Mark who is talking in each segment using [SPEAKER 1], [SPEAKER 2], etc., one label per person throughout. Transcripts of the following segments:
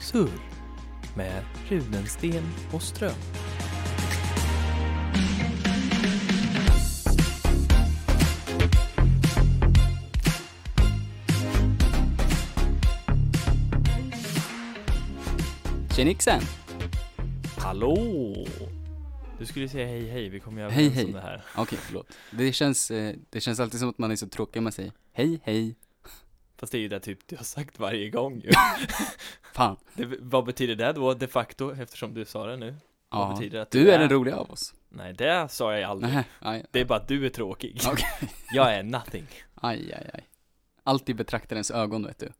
[SPEAKER 1] Sur med Rudensten och Ström.
[SPEAKER 2] Tjenixen!
[SPEAKER 1] Hallå! Du skulle säga hej hej, vi kom ju
[SPEAKER 2] Hej,
[SPEAKER 1] överens om
[SPEAKER 2] hej.
[SPEAKER 1] det här.
[SPEAKER 2] Okej, förlåt. Det känns, eh, det känns alltid som att man är så tråkig om man säger hej, hej,
[SPEAKER 1] Fast det är ju det typ du har sagt varje gång ju.
[SPEAKER 2] fan.
[SPEAKER 1] Det, vad betyder det då de facto, eftersom du sa det nu? Vad
[SPEAKER 2] Ja,
[SPEAKER 1] betyder det att
[SPEAKER 2] du är den roliga av oss.
[SPEAKER 1] Nej, det sa jag aldrig.
[SPEAKER 2] Nej, aj,
[SPEAKER 1] Det är bara att du är tråkig.
[SPEAKER 2] Okej.
[SPEAKER 1] Jag är nothing.
[SPEAKER 2] aj, aj, aj. Alltid betraktarens ögon, vet du.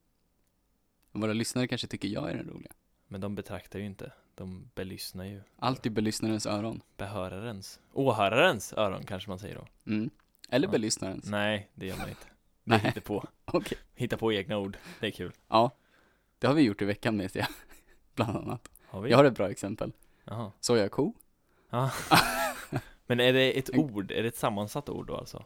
[SPEAKER 2] Våra lyssnare kanske tycker jag är den roliga.
[SPEAKER 1] Men de betraktar ju inte. De belyssnar ju.
[SPEAKER 2] Alltid belyssnarens öron.
[SPEAKER 1] Behörarens. Åhörarens öron kanske man säger då.
[SPEAKER 2] Mm. Eller
[SPEAKER 1] Ja.
[SPEAKER 2] belyssnarens.
[SPEAKER 1] Nej, det gör man inte. Det
[SPEAKER 2] Nej.
[SPEAKER 1] hittar på.
[SPEAKER 2] Okej.
[SPEAKER 1] Hitta på egna ord. Det är kul.
[SPEAKER 2] Ja, det har vi gjort i veckan, vet jag. Bland annat.
[SPEAKER 1] Har vi?
[SPEAKER 2] Jag har ett bra exempel.
[SPEAKER 1] Jaha.
[SPEAKER 2] Sojako?
[SPEAKER 1] Men är det ett ord? Är det ett sammansatt ord då alltså?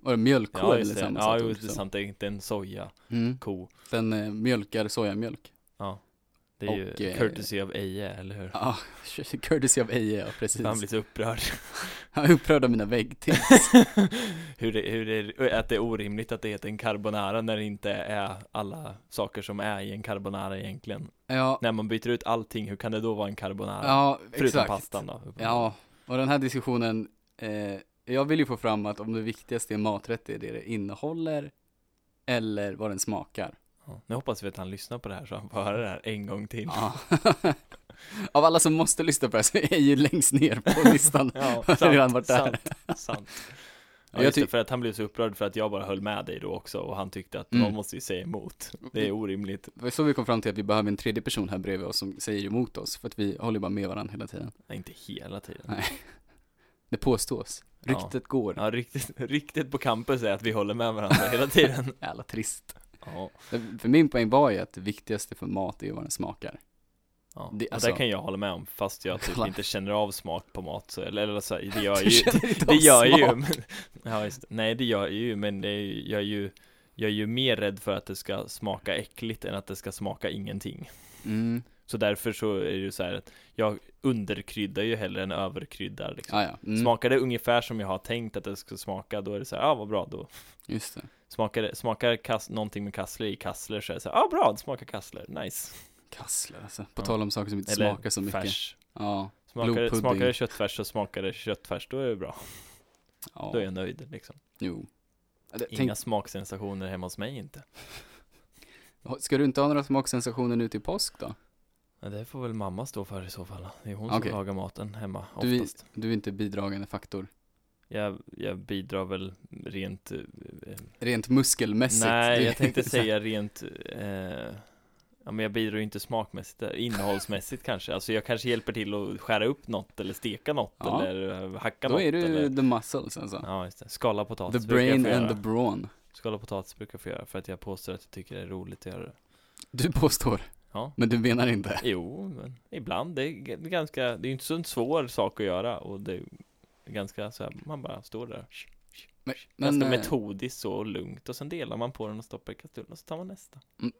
[SPEAKER 2] Var det mjölkko eller
[SPEAKER 1] just det.
[SPEAKER 2] samma
[SPEAKER 1] Ja,
[SPEAKER 2] sak
[SPEAKER 1] jo, det
[SPEAKER 2] också?
[SPEAKER 1] är sant. Det är inte en soja.
[SPEAKER 2] Mm.
[SPEAKER 1] Ko.
[SPEAKER 2] Den eh, mjölkar sojamjölk.
[SPEAKER 1] Det är
[SPEAKER 2] Och,
[SPEAKER 1] ju
[SPEAKER 2] eh,
[SPEAKER 1] courtesy of Eje, eller hur?
[SPEAKER 2] Ja, courtesy of Eje, ja precis.
[SPEAKER 1] Han blir så upprörd.
[SPEAKER 2] Han är upprörd av mina väggtips.
[SPEAKER 1] hur det, hur det, att det är orimligt att det heter en carbonara när det inte är alla saker som är i en carbonara egentligen.
[SPEAKER 2] Ja,
[SPEAKER 1] När man byter ut allting, hur kan det då vara en carbonara?
[SPEAKER 2] ja
[SPEAKER 1] Förutom
[SPEAKER 2] exakt.
[SPEAKER 1] pastan då.
[SPEAKER 2] Ja, och den här diskussionen, eh, jag vill ju få fram att om det viktigaste i en maträtt är det det innehåller eller vad den smakar.
[SPEAKER 1] Ja. Nu hoppas vi att han lyssnar på det här så han får höra det här en gång till.
[SPEAKER 2] Ja. av alla som måste lyssna på det här så är jag ju längst ner på listan.
[SPEAKER 1] Ja,
[SPEAKER 2] Har redan varit där.
[SPEAKER 1] sant, sant. Ja,
[SPEAKER 2] Jag
[SPEAKER 1] just det,
[SPEAKER 2] tyck-
[SPEAKER 1] för att han blev så upprörd för att jag bara höll med dig då också och han tyckte att
[SPEAKER 2] Mm.
[SPEAKER 1] man måste ju säga emot. Det är orimligt.
[SPEAKER 2] Det var så vi kom fram till att vi behöver en tredje person här bredvid oss som säger emot oss, för att vi håller bara med varandra hela tiden.
[SPEAKER 1] Nej, inte hela tiden.
[SPEAKER 2] Nej. Det påstås.
[SPEAKER 1] Ja.
[SPEAKER 2] Ryktet går.
[SPEAKER 1] Ja, riktigt, riktigt på campus är att vi håller med varandra hela tiden.
[SPEAKER 2] Jävla trist.
[SPEAKER 1] Ja,
[SPEAKER 2] För min poäng var ju att det viktigaste för mat är ju vad den smakar.
[SPEAKER 1] ja.
[SPEAKER 2] Det-
[SPEAKER 1] och
[SPEAKER 2] alltså-
[SPEAKER 1] det kan jag hålla med om, fast jag typ
[SPEAKER 2] Kolla.
[SPEAKER 1] inte känner av smak på mat så, eller, eller så, det gör
[SPEAKER 2] Du
[SPEAKER 1] jag ju,
[SPEAKER 2] känner inte
[SPEAKER 1] det
[SPEAKER 2] av
[SPEAKER 1] gör jag ju,
[SPEAKER 2] smak.
[SPEAKER 1] men, ja, just, det. nej det gör jag ju, men det är, ju- jag är ju jag är ju mer rädd för att det ska smaka äckligt än att det ska smaka ingenting.
[SPEAKER 2] Mm.
[SPEAKER 1] Så därför så är det ju så här att jag underkryddar ju hellre än överkryddar liksom.
[SPEAKER 2] Ah, ja. mm.
[SPEAKER 1] Smakar det ungefär som jag har tänkt att det ska smaka, då är det så här, ja ah, vad bra då.
[SPEAKER 2] Just det.
[SPEAKER 1] Smakar, det- smakar kas, någonting med kassler i kassler så är det så här, ah bra, det smakar kassler, nice.
[SPEAKER 2] Kassler alltså. På
[SPEAKER 1] Ja.
[SPEAKER 2] tal om saker som inte
[SPEAKER 1] Eller
[SPEAKER 2] smakar så mycket.
[SPEAKER 1] Färs.
[SPEAKER 2] Ja.
[SPEAKER 1] Smakar, det-
[SPEAKER 2] Blodpudding.
[SPEAKER 1] smakar det köttfärs så smakar det köttfärs, då är det bra.
[SPEAKER 2] ja.
[SPEAKER 1] Då är jag nöjd liksom.
[SPEAKER 2] Jo. Ja, det-
[SPEAKER 1] Inga smaksensationer hemma hos mig inte.
[SPEAKER 2] Tänk, ska du inte ha några smaksensationer nu till påsk då?
[SPEAKER 1] Ja, det får väl mamma stå för i så fall. Det är hon
[SPEAKER 2] Okej.
[SPEAKER 1] som lagar maten hemma
[SPEAKER 2] Du, är-
[SPEAKER 1] oftast.
[SPEAKER 2] du är inte bidragande faktor.
[SPEAKER 1] Jag, jag bidrar väl rent... eh,
[SPEAKER 2] Rent muskelmässigt.
[SPEAKER 1] nej,
[SPEAKER 2] Du-
[SPEAKER 1] jag tänkte säga rent... Eh, ja, men jag bidrar ju inte smakmässigt, där. innehållsmässigt kanske. Alltså jag kanske hjälper till att skära upp något eller steka något
[SPEAKER 2] Ja.
[SPEAKER 1] eller eh, hacka
[SPEAKER 2] Då
[SPEAKER 1] något.
[SPEAKER 2] är du
[SPEAKER 1] eller,
[SPEAKER 2] the muscles alltså.
[SPEAKER 1] ja, just det. Skala potatis
[SPEAKER 2] the
[SPEAKER 1] brukar jag
[SPEAKER 2] brain
[SPEAKER 1] få
[SPEAKER 2] and
[SPEAKER 1] göra.
[SPEAKER 2] the brawn.
[SPEAKER 1] Skala potatis brukar jag få göra för att jag påstår att jag tycker det är roligt att göra det.
[SPEAKER 2] Du påstår,
[SPEAKER 1] Ja.
[SPEAKER 2] men du menar inte.
[SPEAKER 1] Jo, men ibland. Det är g- ganska, det är ju inte så en svår sak att göra och det är ganska så här, man bara står där.
[SPEAKER 2] Men,
[SPEAKER 1] ganska
[SPEAKER 2] men eh,
[SPEAKER 1] metodiskt så och lugnt och sen delar man på den och stoppar i kastrullen och så tar man nästa.
[SPEAKER 2] Mm.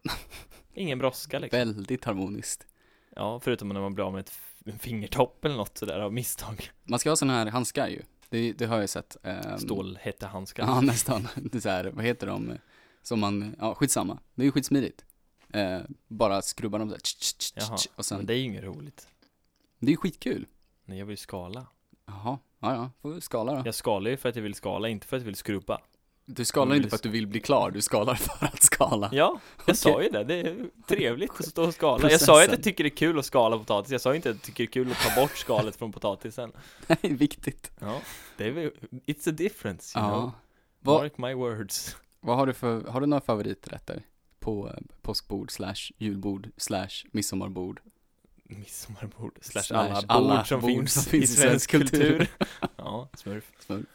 [SPEAKER 1] Ingen brådska liksom.
[SPEAKER 2] väldigt harmoniskt.
[SPEAKER 1] Ja, förutom när man blir av med ett f- en fingertopp eller något sådär av misstag.
[SPEAKER 2] Man ska ha sådana här handskar ju. Det, det har jag ju sett. ehm,
[SPEAKER 1] Stålhättehandskar.
[SPEAKER 2] Ja, nästan. Det är så här, vad heter de? Som man, ja skitsamma. Det är ju skitsmidigt. Eh, bara skrubba dem så här, tsch, tsch, tsch,
[SPEAKER 1] Jaha,
[SPEAKER 2] tsch, och
[SPEAKER 1] Men
[SPEAKER 2] sen,
[SPEAKER 1] det är ju inget roligt.
[SPEAKER 2] det är ju skitkul.
[SPEAKER 1] Nej, jag vill skala.
[SPEAKER 2] Jaha, ja ja, får vi skala då.
[SPEAKER 1] Jag skalar ju för att jag vill skala, inte för att jag vill skrubba.
[SPEAKER 2] Du
[SPEAKER 1] Jag
[SPEAKER 2] skalar
[SPEAKER 1] vill-
[SPEAKER 2] inte för att du vill bli klar, du skalar för att skala.
[SPEAKER 1] Ja, jag sa ju det, det är trevligt att stå och skala Jag sa ju att
[SPEAKER 2] Processen.
[SPEAKER 1] jag tycker det är kul att skala potatis, jag sa ju inte att jag tycker det är kul att ta bort skalet från potatisen
[SPEAKER 2] Det är viktigt.
[SPEAKER 1] Ja, det är väl, it's a difference you
[SPEAKER 2] Ja.
[SPEAKER 1] know,
[SPEAKER 2] Vad,
[SPEAKER 1] mark my words
[SPEAKER 2] vad har du för, har du några favoriträtter? På eh, påskbord slash julbord slash midsommarbord.
[SPEAKER 1] Midsommarbord, slash
[SPEAKER 2] Slash
[SPEAKER 1] alla bord,
[SPEAKER 2] alla
[SPEAKER 1] som,
[SPEAKER 2] bord
[SPEAKER 1] finns
[SPEAKER 2] som finns
[SPEAKER 1] i svensk kultur, Ja, smurf
[SPEAKER 2] Smurf.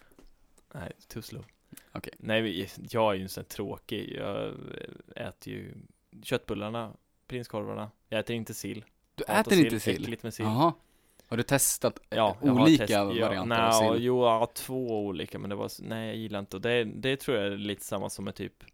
[SPEAKER 1] Nej, tusslo
[SPEAKER 2] Okej.
[SPEAKER 1] Nej, vi- jag är ju en sån här tråkig, jag äter ju köttbullarna, prinskorvarna Jag äter inte sill
[SPEAKER 2] Du
[SPEAKER 1] Hatar
[SPEAKER 2] äter inte sill?
[SPEAKER 1] Äckligt med sill
[SPEAKER 2] Jaha. Har du testat eh,
[SPEAKER 1] Ja, jag har
[SPEAKER 2] olika
[SPEAKER 1] test- ja,
[SPEAKER 2] varianter
[SPEAKER 1] nej,
[SPEAKER 2] av sill?
[SPEAKER 1] Jo, ja, två olika, men det var, s- nej jag gillar inte, och det, det tror jag är lite samma som med typ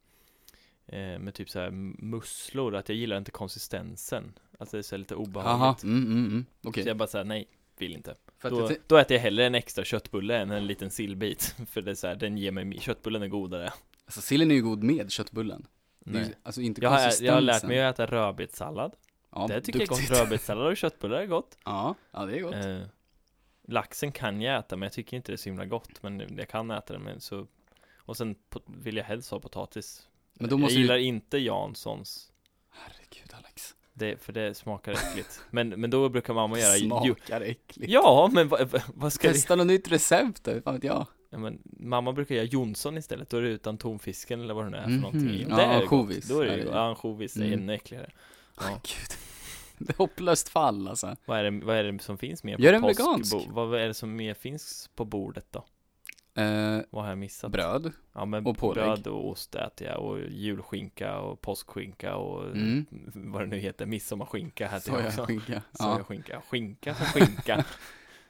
[SPEAKER 1] eh, med typ så här musslor, att jag gillar inte konsistensen Alltså det är så lite
[SPEAKER 2] Jaha,
[SPEAKER 1] obehagligt
[SPEAKER 2] mm, mm, mm. okej.
[SPEAKER 1] Så jag bara säger nej, vill inte
[SPEAKER 2] För att
[SPEAKER 1] då,
[SPEAKER 2] jag tän-
[SPEAKER 1] då äter jag hellre en extra köttbulle än en liten sillbit För det är så här, den ger mig, köttbullen är godare
[SPEAKER 2] Alltså sillen är ju god med köttbullen. Det är ju,
[SPEAKER 1] Nej.
[SPEAKER 2] alltså inte
[SPEAKER 1] Jag har,
[SPEAKER 2] konsistensen.
[SPEAKER 1] jag har lärt mig att äta rödbetssallad
[SPEAKER 2] ja,
[SPEAKER 1] Det tycker
[SPEAKER 2] duktigt.
[SPEAKER 1] jag är gott, rödbetssallad och köttbullar är gott
[SPEAKER 2] Ja, ja det är gott.
[SPEAKER 1] eh, Laxen kan jag äta men jag tycker inte det är så himla gott Men jag kan äta den men så Och sen po- vill jag helst ha potatis
[SPEAKER 2] Men då måste
[SPEAKER 1] Jag gillar
[SPEAKER 2] ju...
[SPEAKER 1] inte Janssons
[SPEAKER 2] Herregud Alex.
[SPEAKER 1] det, För det smakar äckligt Men, men då brukar mamma göra ju-
[SPEAKER 2] Smakar äckligt.
[SPEAKER 1] Ja, men vad, vad- vad ska vi
[SPEAKER 2] Testa något nytt recept då, fan vet jag.
[SPEAKER 1] Ja, men mamma brukar göra Jonsson istället, då är det utan tonfisken eller vad det nu är för
[SPEAKER 2] Mhm.
[SPEAKER 1] någonting.
[SPEAKER 2] Ja,
[SPEAKER 1] Det är
[SPEAKER 2] ansjovis
[SPEAKER 1] Gott. Då är
[SPEAKER 2] är
[SPEAKER 1] det
[SPEAKER 2] det
[SPEAKER 1] ju
[SPEAKER 2] ju.
[SPEAKER 1] ansjovis, det är
[SPEAKER 2] Mm.
[SPEAKER 1] ännu äckligare. Ja.
[SPEAKER 2] Gud. Det är hopplöst fall alltså.
[SPEAKER 1] Vad, är det, vad är det som finns mer på
[SPEAKER 2] Gör den
[SPEAKER 1] påskbo-
[SPEAKER 2] vegansk.
[SPEAKER 1] Vad är det som mer finns på bordet då?
[SPEAKER 2] Eh,
[SPEAKER 1] Vad har jag missat?
[SPEAKER 2] bröd.
[SPEAKER 1] Ja men
[SPEAKER 2] och pålägg.
[SPEAKER 1] bröd och ost äter jag och julskinka och påskskinka och
[SPEAKER 2] Mm.
[SPEAKER 1] vad det nu heter, midsommarskinka äter jag också.
[SPEAKER 2] Sojaskinka. Ja.
[SPEAKER 1] Sojaskinka, skinka som skinka.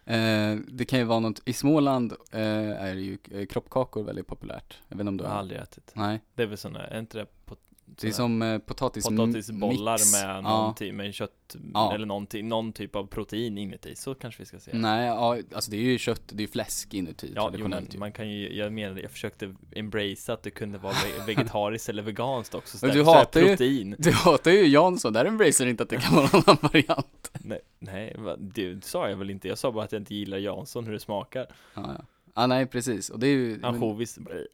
[SPEAKER 2] Eh, det kan ju vara något, i Småland eh, är det ju eh, kroppkakor väldigt populärt. Jag vet inte om du
[SPEAKER 1] Jag
[SPEAKER 2] har?
[SPEAKER 1] har aldrig ätit.
[SPEAKER 2] Nej,
[SPEAKER 1] Det är väl sådana, är inte det pot-
[SPEAKER 2] det är
[SPEAKER 1] såna-
[SPEAKER 2] som eh, potatis
[SPEAKER 1] potatisbollar
[SPEAKER 2] mix.
[SPEAKER 1] med
[SPEAKER 2] ja.
[SPEAKER 1] någonting, med kött
[SPEAKER 2] Ja.
[SPEAKER 1] eller någonting, någon typ av protein inuti, så kanske vi ska säga.
[SPEAKER 2] Nej, ja, alltså det är ju kött, det är ju fläsk inuti
[SPEAKER 1] Ja, jo, men
[SPEAKER 2] traditionellt ju.
[SPEAKER 1] man kan ju, jag menar, jag försökte embracea att det kunde vara ve- vegetariskt eller veganskt också. Så
[SPEAKER 2] Men
[SPEAKER 1] där-
[SPEAKER 2] du
[SPEAKER 1] så här
[SPEAKER 2] hatar ju-
[SPEAKER 1] protein.
[SPEAKER 2] Du hatar ju Jansson, där embracear inte att det kan vara någon annan variant.
[SPEAKER 1] Nej, nej, va- det sa jag väl inte. Jag sa bara att jag inte gillar Jansson, hur det smakar.
[SPEAKER 2] Ja, ja. Ah, nej precis, och det är ju, men,
[SPEAKER 1] Ansjovis, blä.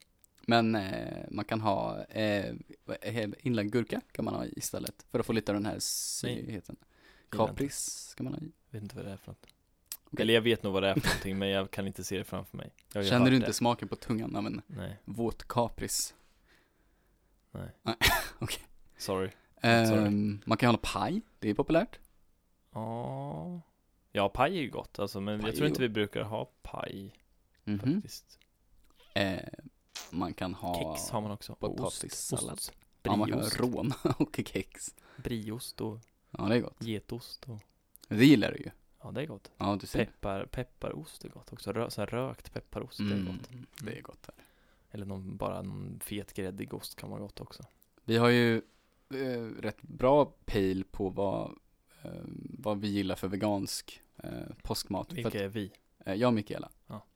[SPEAKER 2] men eh, man kan ha eh, vad- eh, inlagd gurka kan man ha i istället för att få lite av den här syrligheten.
[SPEAKER 1] Gillar inte.
[SPEAKER 2] Kapris kan man ha i.
[SPEAKER 1] vet inte vad det är för något.
[SPEAKER 2] Okej.
[SPEAKER 1] Eller jag vet nog vad det är för någonting, men jag kan inte se det framför mig. Jag har ju
[SPEAKER 2] Känner
[SPEAKER 1] hört
[SPEAKER 2] du inte
[SPEAKER 1] det.
[SPEAKER 2] smaken på tungan av en
[SPEAKER 1] Nej,
[SPEAKER 2] våt kapris?
[SPEAKER 1] sorry. Sorry.
[SPEAKER 2] Ehm, man kan ha paj, det är populärt.
[SPEAKER 1] Ja, ja paj är ju gott alltså, men
[SPEAKER 2] Paj
[SPEAKER 1] jag
[SPEAKER 2] är
[SPEAKER 1] tror inte vi brukar ha paj
[SPEAKER 2] Mhm.
[SPEAKER 1] faktiskt.
[SPEAKER 2] Ehm, man kan ha
[SPEAKER 1] Kex har man också. Och ost.
[SPEAKER 2] potatissallad.
[SPEAKER 1] Ost.
[SPEAKER 2] Ja, man kan ha
[SPEAKER 1] Brieost.
[SPEAKER 2] rån och kex.
[SPEAKER 1] Brieost och
[SPEAKER 2] Ja, det är gott.
[SPEAKER 1] getost och...
[SPEAKER 2] Det gillar du ju.
[SPEAKER 1] Ja, det är gott.
[SPEAKER 2] Ja, du ser.
[SPEAKER 1] Peppar, pepparost är gott också. Rö, så här rökt pepparost är
[SPEAKER 2] Mm,
[SPEAKER 1] gott.
[SPEAKER 2] det är gott. Här.
[SPEAKER 1] Eller någon, bara någon fet gräddig ost kan vara gott också.
[SPEAKER 2] Vi har ju eh, rätt bra pejl på vad, eh, vad vi gillar för vegansk eh, påskmat. För
[SPEAKER 1] Vilka
[SPEAKER 2] att,
[SPEAKER 1] är vi?
[SPEAKER 2] eh, jag och Mikaela.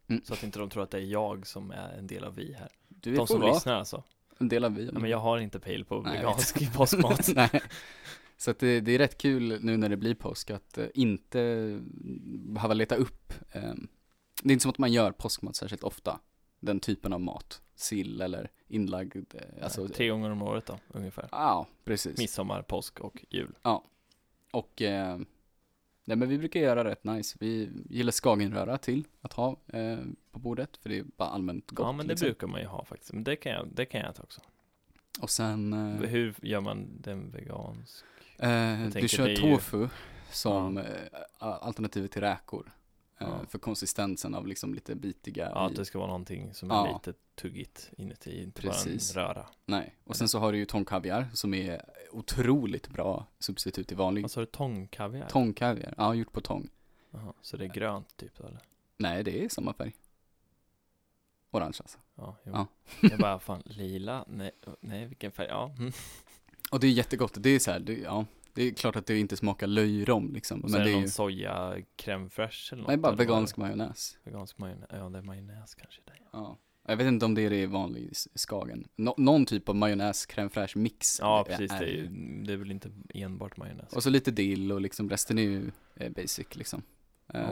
[SPEAKER 2] Mm.
[SPEAKER 1] Så att inte de tror att det är jag som är en del av vi här.
[SPEAKER 2] Du
[SPEAKER 1] De
[SPEAKER 2] är
[SPEAKER 1] som
[SPEAKER 2] vara
[SPEAKER 1] lyssnar alltså.
[SPEAKER 2] en del av vi.
[SPEAKER 1] Ja, men jag har inte pejl på
[SPEAKER 2] Nej, jag
[SPEAKER 1] vegansk påskmat.
[SPEAKER 2] Nej. Så att det, det är rätt kul nu när det blir påsk att eh, inte behöva leta upp. eh, Det är inte som att man gör påskmat särskilt ofta. Den typen av mat. Sill eller inlagd. eh, Alltså,
[SPEAKER 1] Nej, Tre gånger om året då, ungefär.
[SPEAKER 2] Ja, precis.
[SPEAKER 1] Midsommar, påsk och jul.
[SPEAKER 2] Och eh, nej, men vi brukar göra rätt nice. Vi gillar skagenröra till att ha eh, på bordet. För det är bara allmänt gott.
[SPEAKER 1] ja, men det
[SPEAKER 2] liksom.
[SPEAKER 1] brukar man ju ha faktiskt. Men det kan jag, det kan jag äta också.
[SPEAKER 2] Och sen eh,
[SPEAKER 1] Hur gör man den vegansk?
[SPEAKER 2] eh,
[SPEAKER 1] tänker
[SPEAKER 2] du kör
[SPEAKER 1] det är ju-
[SPEAKER 2] tofu som eh, alternativet till räkor. Eh,
[SPEAKER 1] Ja.
[SPEAKER 2] För konsistensen av liksom lite bitiga.
[SPEAKER 1] Ja, typ.
[SPEAKER 2] i-
[SPEAKER 1] att det ska vara någonting som är
[SPEAKER 2] Ja.
[SPEAKER 1] lite tuggigt inuti, inte
[SPEAKER 2] Precis.
[SPEAKER 1] bara en röra.
[SPEAKER 2] Nej, och sen så har du ju tångkaviar som är otroligt bra substitut till vanlig
[SPEAKER 1] Vad sa du, tångkaviar?
[SPEAKER 2] tångkaviar. Ja, gjort på tång.
[SPEAKER 1] Jaha, så det är grönt typ då, eller?
[SPEAKER 2] Nej, det är samma färg. Orange alltså.
[SPEAKER 1] Ja, jo.
[SPEAKER 2] Ja.
[SPEAKER 1] Jag bara, fan, lila? Nej, nej vilken färg? Ja, mm.
[SPEAKER 2] Och det är jättegott. Det är så här, det, ja, det är klart att det inte smakar löjrom liksom.
[SPEAKER 1] Och så
[SPEAKER 2] men
[SPEAKER 1] är
[SPEAKER 2] det
[SPEAKER 1] det
[SPEAKER 2] är
[SPEAKER 1] någon
[SPEAKER 2] ju,
[SPEAKER 1] soja crème fraîche eller något?
[SPEAKER 2] nej, bara
[SPEAKER 1] eller vad är det?
[SPEAKER 2] vegansk majonnäs.
[SPEAKER 1] Vegansk majonnäs, ja det är majonnäs kanske det är.
[SPEAKER 2] Ja. Jag vet inte om det är det i vanlig s- skagen. Nå- någon typ av majonnäs, crème fraîche mix.
[SPEAKER 1] Ja,
[SPEAKER 2] är-
[SPEAKER 1] precis, det är, ju,
[SPEAKER 2] ju.
[SPEAKER 1] det är väl inte enbart majonnäs?
[SPEAKER 2] Och så lite dill och liksom resten är ju eh, basic liksom. Eh,
[SPEAKER 1] Ja.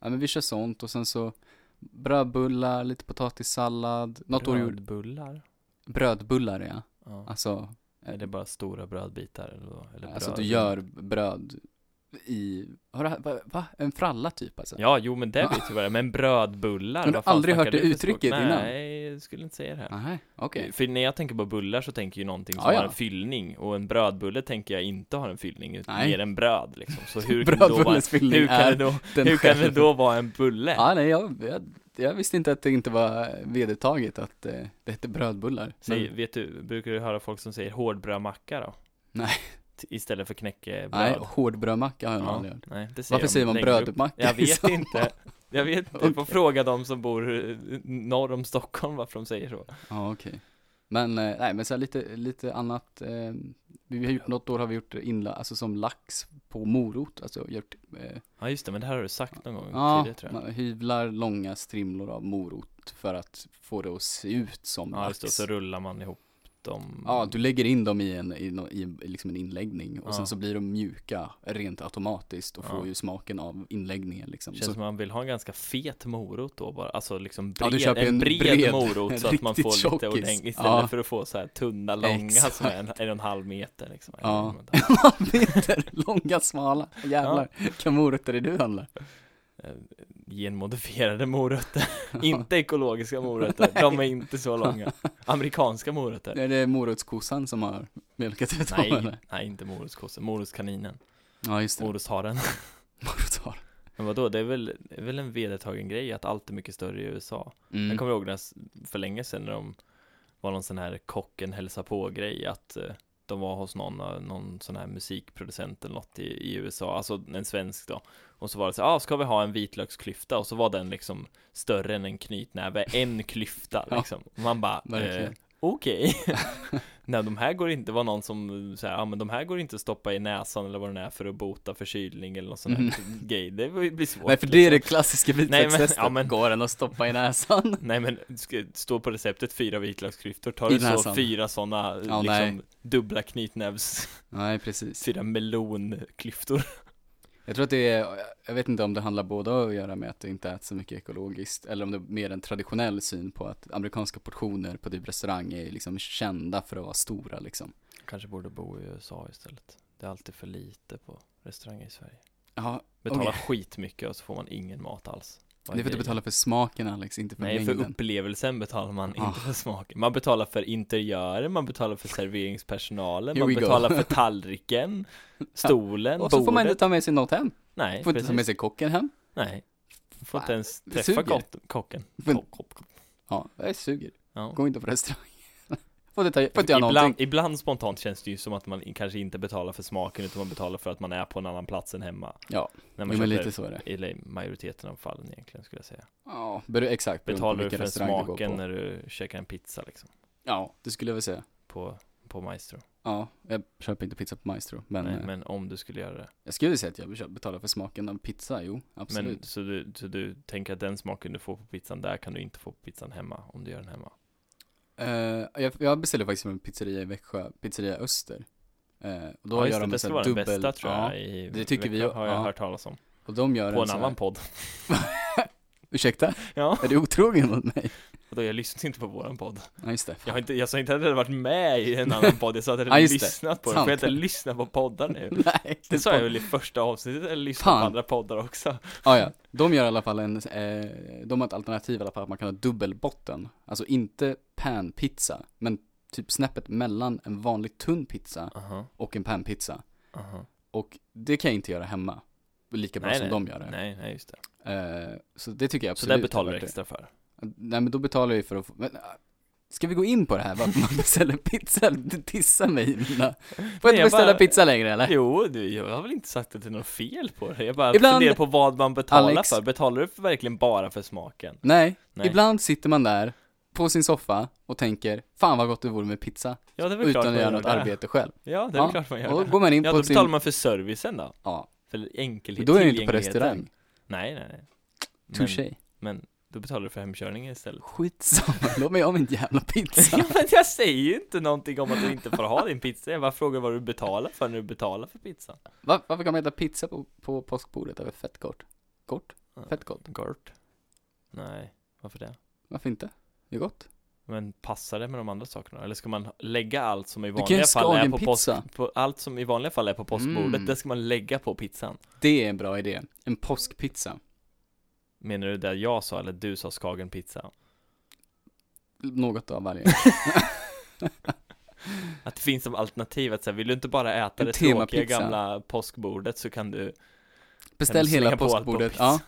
[SPEAKER 2] ja men vi kör sånt och sen så brödbullar, lite potatissallad, något år gjorde
[SPEAKER 1] Brödbullar?
[SPEAKER 2] brödbullar ja.
[SPEAKER 1] Ja.
[SPEAKER 2] Alltså, eh,
[SPEAKER 1] Är det bara stora brödbitar eller, vad? eller
[SPEAKER 2] alltså att du
[SPEAKER 1] bröd?
[SPEAKER 2] gör bröd i, har du, va, va? En fralla typ alltså?
[SPEAKER 1] Ja, jo men det
[SPEAKER 2] Ja.
[SPEAKER 1] vet jag vad det är, men brödbullar?
[SPEAKER 2] Men du
[SPEAKER 1] vad
[SPEAKER 2] har
[SPEAKER 1] fan
[SPEAKER 2] aldrig
[SPEAKER 1] snackar
[SPEAKER 2] hört det
[SPEAKER 1] du för språk?
[SPEAKER 2] uttrycket innan?
[SPEAKER 1] Nej, jag skulle inte säga det här.
[SPEAKER 2] Nej, okej. Ah,
[SPEAKER 1] För när jag tänker på bullar så tänker jag ju någonting som
[SPEAKER 2] Ja, ja.
[SPEAKER 1] har en fyllning och en brödbulle tänker jag inte har en fyllning utan
[SPEAKER 2] Nej.
[SPEAKER 1] mer än bröd liksom. Så hur kan det då vara,
[SPEAKER 2] Brödbullens fyllning
[SPEAKER 1] hur kan det
[SPEAKER 2] är
[SPEAKER 1] då,
[SPEAKER 2] den
[SPEAKER 1] hur kan det
[SPEAKER 2] själv. Ah,
[SPEAKER 1] då vara en bulle?
[SPEAKER 2] Ja, nej, jag, jag, jag visste inte att det inte var vedertaget att eh, det hette brödbullar.
[SPEAKER 1] Säg,
[SPEAKER 2] Men-
[SPEAKER 1] vet du, brukar du höra folk som säger hårdbrödmacka då?
[SPEAKER 2] Nej.
[SPEAKER 1] T- Istället för knäckebröd?
[SPEAKER 2] nej, hårdbrödmacka har jag nog aldrig hört.
[SPEAKER 1] nej, det säger
[SPEAKER 2] Varför
[SPEAKER 1] de
[SPEAKER 2] säger man
[SPEAKER 1] längre upp.
[SPEAKER 2] brödmacka?
[SPEAKER 1] Jag
[SPEAKER 2] i
[SPEAKER 1] vet
[SPEAKER 2] samma-
[SPEAKER 1] inte. Jag vet, du får fråga de som bor eh, norr om Stockholm varför de säger så.
[SPEAKER 2] Ja, okej. Men, eh, nej, men så här lite, lite annat. Eh, vi har gjort något år har vi gjort inla, alltså som lax på morot. Alltså gjort, eh,
[SPEAKER 1] Ja just det, men det här har du sagt någon gång
[SPEAKER 2] ja,
[SPEAKER 1] tidigare tror jag.
[SPEAKER 2] man hyvlar långa strimlor av morot för att få det att se ut som
[SPEAKER 1] Ja just
[SPEAKER 2] lax.
[SPEAKER 1] det, och så rullar man ihop dem.
[SPEAKER 2] Ja, du lägger in dem i en, i, no- i en- liksom en inläggning och
[SPEAKER 1] Ja.
[SPEAKER 2] sen så blir de mjuka rent automatiskt och
[SPEAKER 1] Ja.
[SPEAKER 2] får ju smaken av inläggningen liksom.
[SPEAKER 1] Känns
[SPEAKER 2] Så,
[SPEAKER 1] som man vill ha en ganska fet morot då bara, alltså liksom
[SPEAKER 2] Ja, du
[SPEAKER 1] bred,
[SPEAKER 2] köper
[SPEAKER 1] en
[SPEAKER 2] en
[SPEAKER 1] bred,
[SPEAKER 2] bred,
[SPEAKER 1] morot så att man
[SPEAKER 2] riktigt
[SPEAKER 1] får lite
[SPEAKER 2] tjockis.
[SPEAKER 1] ordentligt istället
[SPEAKER 2] Ja.
[SPEAKER 1] för att få så här tunna, långa som är en, en och en halv meter liksom.
[SPEAKER 2] Ja.
[SPEAKER 1] Men,
[SPEAKER 2] meter långa, smala, jävlar. Vilka morötter är det du handlar?
[SPEAKER 1] eh, Genmodifierade morötter, inte ekologiska morötter, de är inte så långa. Amerikanska morötter.
[SPEAKER 2] Är det morotskossan som har mjölkat ut dem,
[SPEAKER 1] Nej,
[SPEAKER 2] eller?
[SPEAKER 1] nej inte morotskossen, morotkaninen,
[SPEAKER 2] Ja, just det.
[SPEAKER 1] morotsharen.
[SPEAKER 2] Morotar.
[SPEAKER 1] Men vadå, det är väl, det är väl en vedertagen grej att allt är mycket större i USA. Jag
[SPEAKER 2] Mm.
[SPEAKER 1] kommer ihåg när, jag s- för länge sedan när de var någon sån här kocken hälsa på grej att eh, de var hos någon, eh, någon sån här musikproducent eller något i, i USA, alltså en svensk då. Och så var det så, ah, ska vi ha en vitlöksklyfta? Och så var den liksom större än en knytnäve, en klyfta
[SPEAKER 2] Ja,
[SPEAKER 1] liksom. Och man bara, eh,
[SPEAKER 2] Verkligen.
[SPEAKER 1] okej. Nej, de här går inte, det var någon som eh, så här, ja ah, men de här går inte att stoppa i näsan eller vad den är för att bota förkylning eller något sån här grej. Mhm. Det blir svårt. liksom.
[SPEAKER 2] Nej, för det är det klassiska
[SPEAKER 1] men-
[SPEAKER 2] vitlökstestet.
[SPEAKER 1] ja, men-
[SPEAKER 2] Går den att stoppa i näsan?
[SPEAKER 1] Nej men, ska stå på receptet fyra vitlöksklyftor, tar
[SPEAKER 2] I
[SPEAKER 1] du så
[SPEAKER 2] näsan.
[SPEAKER 1] fyra sådana
[SPEAKER 2] Ja,
[SPEAKER 1] liksom
[SPEAKER 2] nej.
[SPEAKER 1] dubbla knytnävs,
[SPEAKER 2] Nej, precis.
[SPEAKER 1] fyra melonklyftor
[SPEAKER 2] Jag tror att det är, jag vet inte om det handlar både att göra med att det inte äts så mycket ekologiskt eller om det är mer en traditionell syn på att amerikanska portioner på typ restaurang är liksom kända för att vara stora liksom.
[SPEAKER 1] Kanske borde bo i USA istället Det är alltid för lite på restauranger i Sverige
[SPEAKER 2] Ja,
[SPEAKER 1] Betala
[SPEAKER 2] Okej.
[SPEAKER 1] skitmycket och så får man ingen mat alls Vad
[SPEAKER 2] det är för att du
[SPEAKER 1] grejen?
[SPEAKER 2] betalar för smaken Alex, inte för
[SPEAKER 1] Nej, för
[SPEAKER 2] mängden.
[SPEAKER 1] upplevelsen betalar man
[SPEAKER 2] Ah.
[SPEAKER 1] inte för smaken Man betalar för interiören, man betalar för serveringspersonalen,
[SPEAKER 2] Here
[SPEAKER 1] man
[SPEAKER 2] we go.
[SPEAKER 1] betalar för tallriken, stolen,
[SPEAKER 2] Och
[SPEAKER 1] bordet
[SPEAKER 2] så får man inte ta med sig något hem.
[SPEAKER 1] Nej,
[SPEAKER 2] Får inte ta
[SPEAKER 1] precis.
[SPEAKER 2] med sig kocken hem.
[SPEAKER 1] Nej, får inte
[SPEAKER 2] Fan,
[SPEAKER 1] ens
[SPEAKER 2] det
[SPEAKER 1] träffa
[SPEAKER 2] suger.
[SPEAKER 1] kott- kocken
[SPEAKER 2] Men-
[SPEAKER 1] Kock, kock, kock.
[SPEAKER 2] Ja, jag suger.
[SPEAKER 1] Ja.
[SPEAKER 2] Gå inte på restaurang. får inte, ta, får inte göra
[SPEAKER 1] Ibland,
[SPEAKER 2] någonting.
[SPEAKER 1] ibland spontant känns det ju som att man i- kanske inte betalar för smaken utan man betalar för att man är på en annan plats än hemma.
[SPEAKER 2] Ja,
[SPEAKER 1] när man
[SPEAKER 2] Jo, men
[SPEAKER 1] köper-
[SPEAKER 2] lite så är det.
[SPEAKER 1] Eller majoriteten av fallen egentligen skulle jag säga.
[SPEAKER 2] Ja, ber- exakt. beroende på
[SPEAKER 1] Betalar du
[SPEAKER 2] vilken
[SPEAKER 1] för
[SPEAKER 2] restaurang du går
[SPEAKER 1] smaken
[SPEAKER 2] på.
[SPEAKER 1] när du käkar en pizza liksom?
[SPEAKER 2] Ja, det skulle jag väl säga.
[SPEAKER 1] På, på Maestro.
[SPEAKER 2] Ja, jag köper inte pizza på Maestro, men,
[SPEAKER 1] Nej,
[SPEAKER 2] eh,
[SPEAKER 1] men om du skulle göra det.
[SPEAKER 2] jag skulle säga att jag köper- betalar för smaken av pizza, jo, absolut.
[SPEAKER 1] Men, så, du, så du tänker att den smaken du får på pizzan där kan du inte få på pizzan hemma om du gör den hemma?
[SPEAKER 2] Eh, jag, jag beställde faktiskt från en pizzeria i Växjö, Pizzeria Öster. Eh, och då
[SPEAKER 1] Ja,
[SPEAKER 2] gör
[SPEAKER 1] just det,
[SPEAKER 2] de en
[SPEAKER 1] bästa
[SPEAKER 2] sån
[SPEAKER 1] var
[SPEAKER 2] här
[SPEAKER 1] den
[SPEAKER 2] dubbel,
[SPEAKER 1] bästa tror jag.
[SPEAKER 2] Ja,
[SPEAKER 1] i
[SPEAKER 2] det tycker vi
[SPEAKER 1] veckan,
[SPEAKER 2] ju-
[SPEAKER 1] Har jag
[SPEAKER 2] ja.
[SPEAKER 1] hört talas om.
[SPEAKER 2] och de gör
[SPEAKER 1] På en
[SPEAKER 2] sån här-
[SPEAKER 1] annan podd.
[SPEAKER 2] Ursäkta,
[SPEAKER 1] Ja,
[SPEAKER 2] är du otrogen mot mig?
[SPEAKER 1] och då jag lyssnade inte på våran podd.
[SPEAKER 2] Ja, just det.
[SPEAKER 1] Jag, har inte, jag sa inte att jag hade varit med i en annan podd, jag sa att jag
[SPEAKER 2] Ja,
[SPEAKER 1] hade
[SPEAKER 2] just det.
[SPEAKER 1] lyssnat på den,
[SPEAKER 2] Sant.
[SPEAKER 1] för jag inte lyssna på poddar nu.
[SPEAKER 2] Nej,
[SPEAKER 1] Det sa jag
[SPEAKER 2] väl.
[SPEAKER 1] väl i första avsnittet, eller lyssna
[SPEAKER 2] Fan.
[SPEAKER 1] på andra poddar också.
[SPEAKER 2] Ah, ja, de gör i alla fall en, eh, de har ett alternativ i alla fall att man kan ha dubbelbotten. Alltså inte panpizza, men typ snäppet mellan en vanlig tunn pizza
[SPEAKER 1] Aha,
[SPEAKER 2] och en panpizza.
[SPEAKER 1] aha.
[SPEAKER 2] Och det kan jag inte göra hemma, lika bra
[SPEAKER 1] Nej,
[SPEAKER 2] som
[SPEAKER 1] nej.
[SPEAKER 2] de gör det.
[SPEAKER 1] Nej, nej just det.
[SPEAKER 2] Eh, så det tycker jag
[SPEAKER 1] Så
[SPEAKER 2] absolut
[SPEAKER 1] där
[SPEAKER 2] är
[SPEAKER 1] betalar du
[SPEAKER 2] värt det.
[SPEAKER 1] extra för.
[SPEAKER 2] Nej men då betalar jag ju för att få, men, äh, ska vi gå in på det här varför man beställer pizza? Du dissar mig Mina. Får jag
[SPEAKER 1] jag
[SPEAKER 2] inte beställa
[SPEAKER 1] bara-
[SPEAKER 2] pizza längre eller?
[SPEAKER 1] Jo, du, jag har väl inte sagt att det är något fel på det. Jag bara
[SPEAKER 2] Ibland-
[SPEAKER 1] funderar på vad man betalar
[SPEAKER 2] Alex.
[SPEAKER 1] för. Betalar du för verkligen bara för smaken?
[SPEAKER 2] Nej.
[SPEAKER 1] Nej.
[SPEAKER 2] ibland sitter man där på sin soffa och tänker, fan vad gott det vore med pizza,
[SPEAKER 1] Ja, det är väl klart
[SPEAKER 2] utan
[SPEAKER 1] man
[SPEAKER 2] att göra
[SPEAKER 1] gör
[SPEAKER 2] något
[SPEAKER 1] det.
[SPEAKER 2] arbete själv.
[SPEAKER 1] Ja, det är väl
[SPEAKER 2] Ja,
[SPEAKER 1] klart man
[SPEAKER 2] och
[SPEAKER 1] gör
[SPEAKER 2] då
[SPEAKER 1] det.
[SPEAKER 2] går man in
[SPEAKER 1] Ja,
[SPEAKER 2] på
[SPEAKER 1] då
[SPEAKER 2] sin,
[SPEAKER 1] betalar man för servicen då.
[SPEAKER 2] ja,
[SPEAKER 1] För enkelhet,
[SPEAKER 2] då är det inte på
[SPEAKER 1] tillgängligheten.
[SPEAKER 2] restaurang.
[SPEAKER 1] Nej, nej, nej. Men,
[SPEAKER 2] Touché.
[SPEAKER 1] men då betalar du för hemkörningen istället.
[SPEAKER 2] Skitsamma, låt mig ha min jävla pizza.
[SPEAKER 1] Ja, men jag säger ju inte någonting om att du inte får ha din pizza. Jag bara frågar vad du betalar för när du betalar för pizzan.
[SPEAKER 2] Va- varför kan man äta pizza på, på påskbordet? Det är väl fett gott? Gott? Fett gott?
[SPEAKER 1] Gurt. Nej, varför det?
[SPEAKER 2] Varför inte? Det är gott.
[SPEAKER 1] Men passar det med de andra sakerna? Eller ska man lägga allt som i
[SPEAKER 2] kan ju
[SPEAKER 1] vanliga fall är på, påsk,
[SPEAKER 2] skagenpizza.
[SPEAKER 1] på Allt som i vanliga fall är på påskbordet,
[SPEAKER 2] Mm.
[SPEAKER 1] det ska man lägga på pizzan.
[SPEAKER 2] Det är en bra idé. En påskpizza.
[SPEAKER 1] Menar du det jag sa eller du sa skagenpizza?
[SPEAKER 2] Något av varje.
[SPEAKER 1] Att det finns som alternativ att säga, vill du inte bara äta
[SPEAKER 2] En
[SPEAKER 1] det tråkiga
[SPEAKER 2] temapizza.
[SPEAKER 1] gamla påskbordet så kan du
[SPEAKER 2] Beställ
[SPEAKER 1] slänga
[SPEAKER 2] hela
[SPEAKER 1] på allt på
[SPEAKER 2] påskbordet.
[SPEAKER 1] pizza.
[SPEAKER 2] Ja.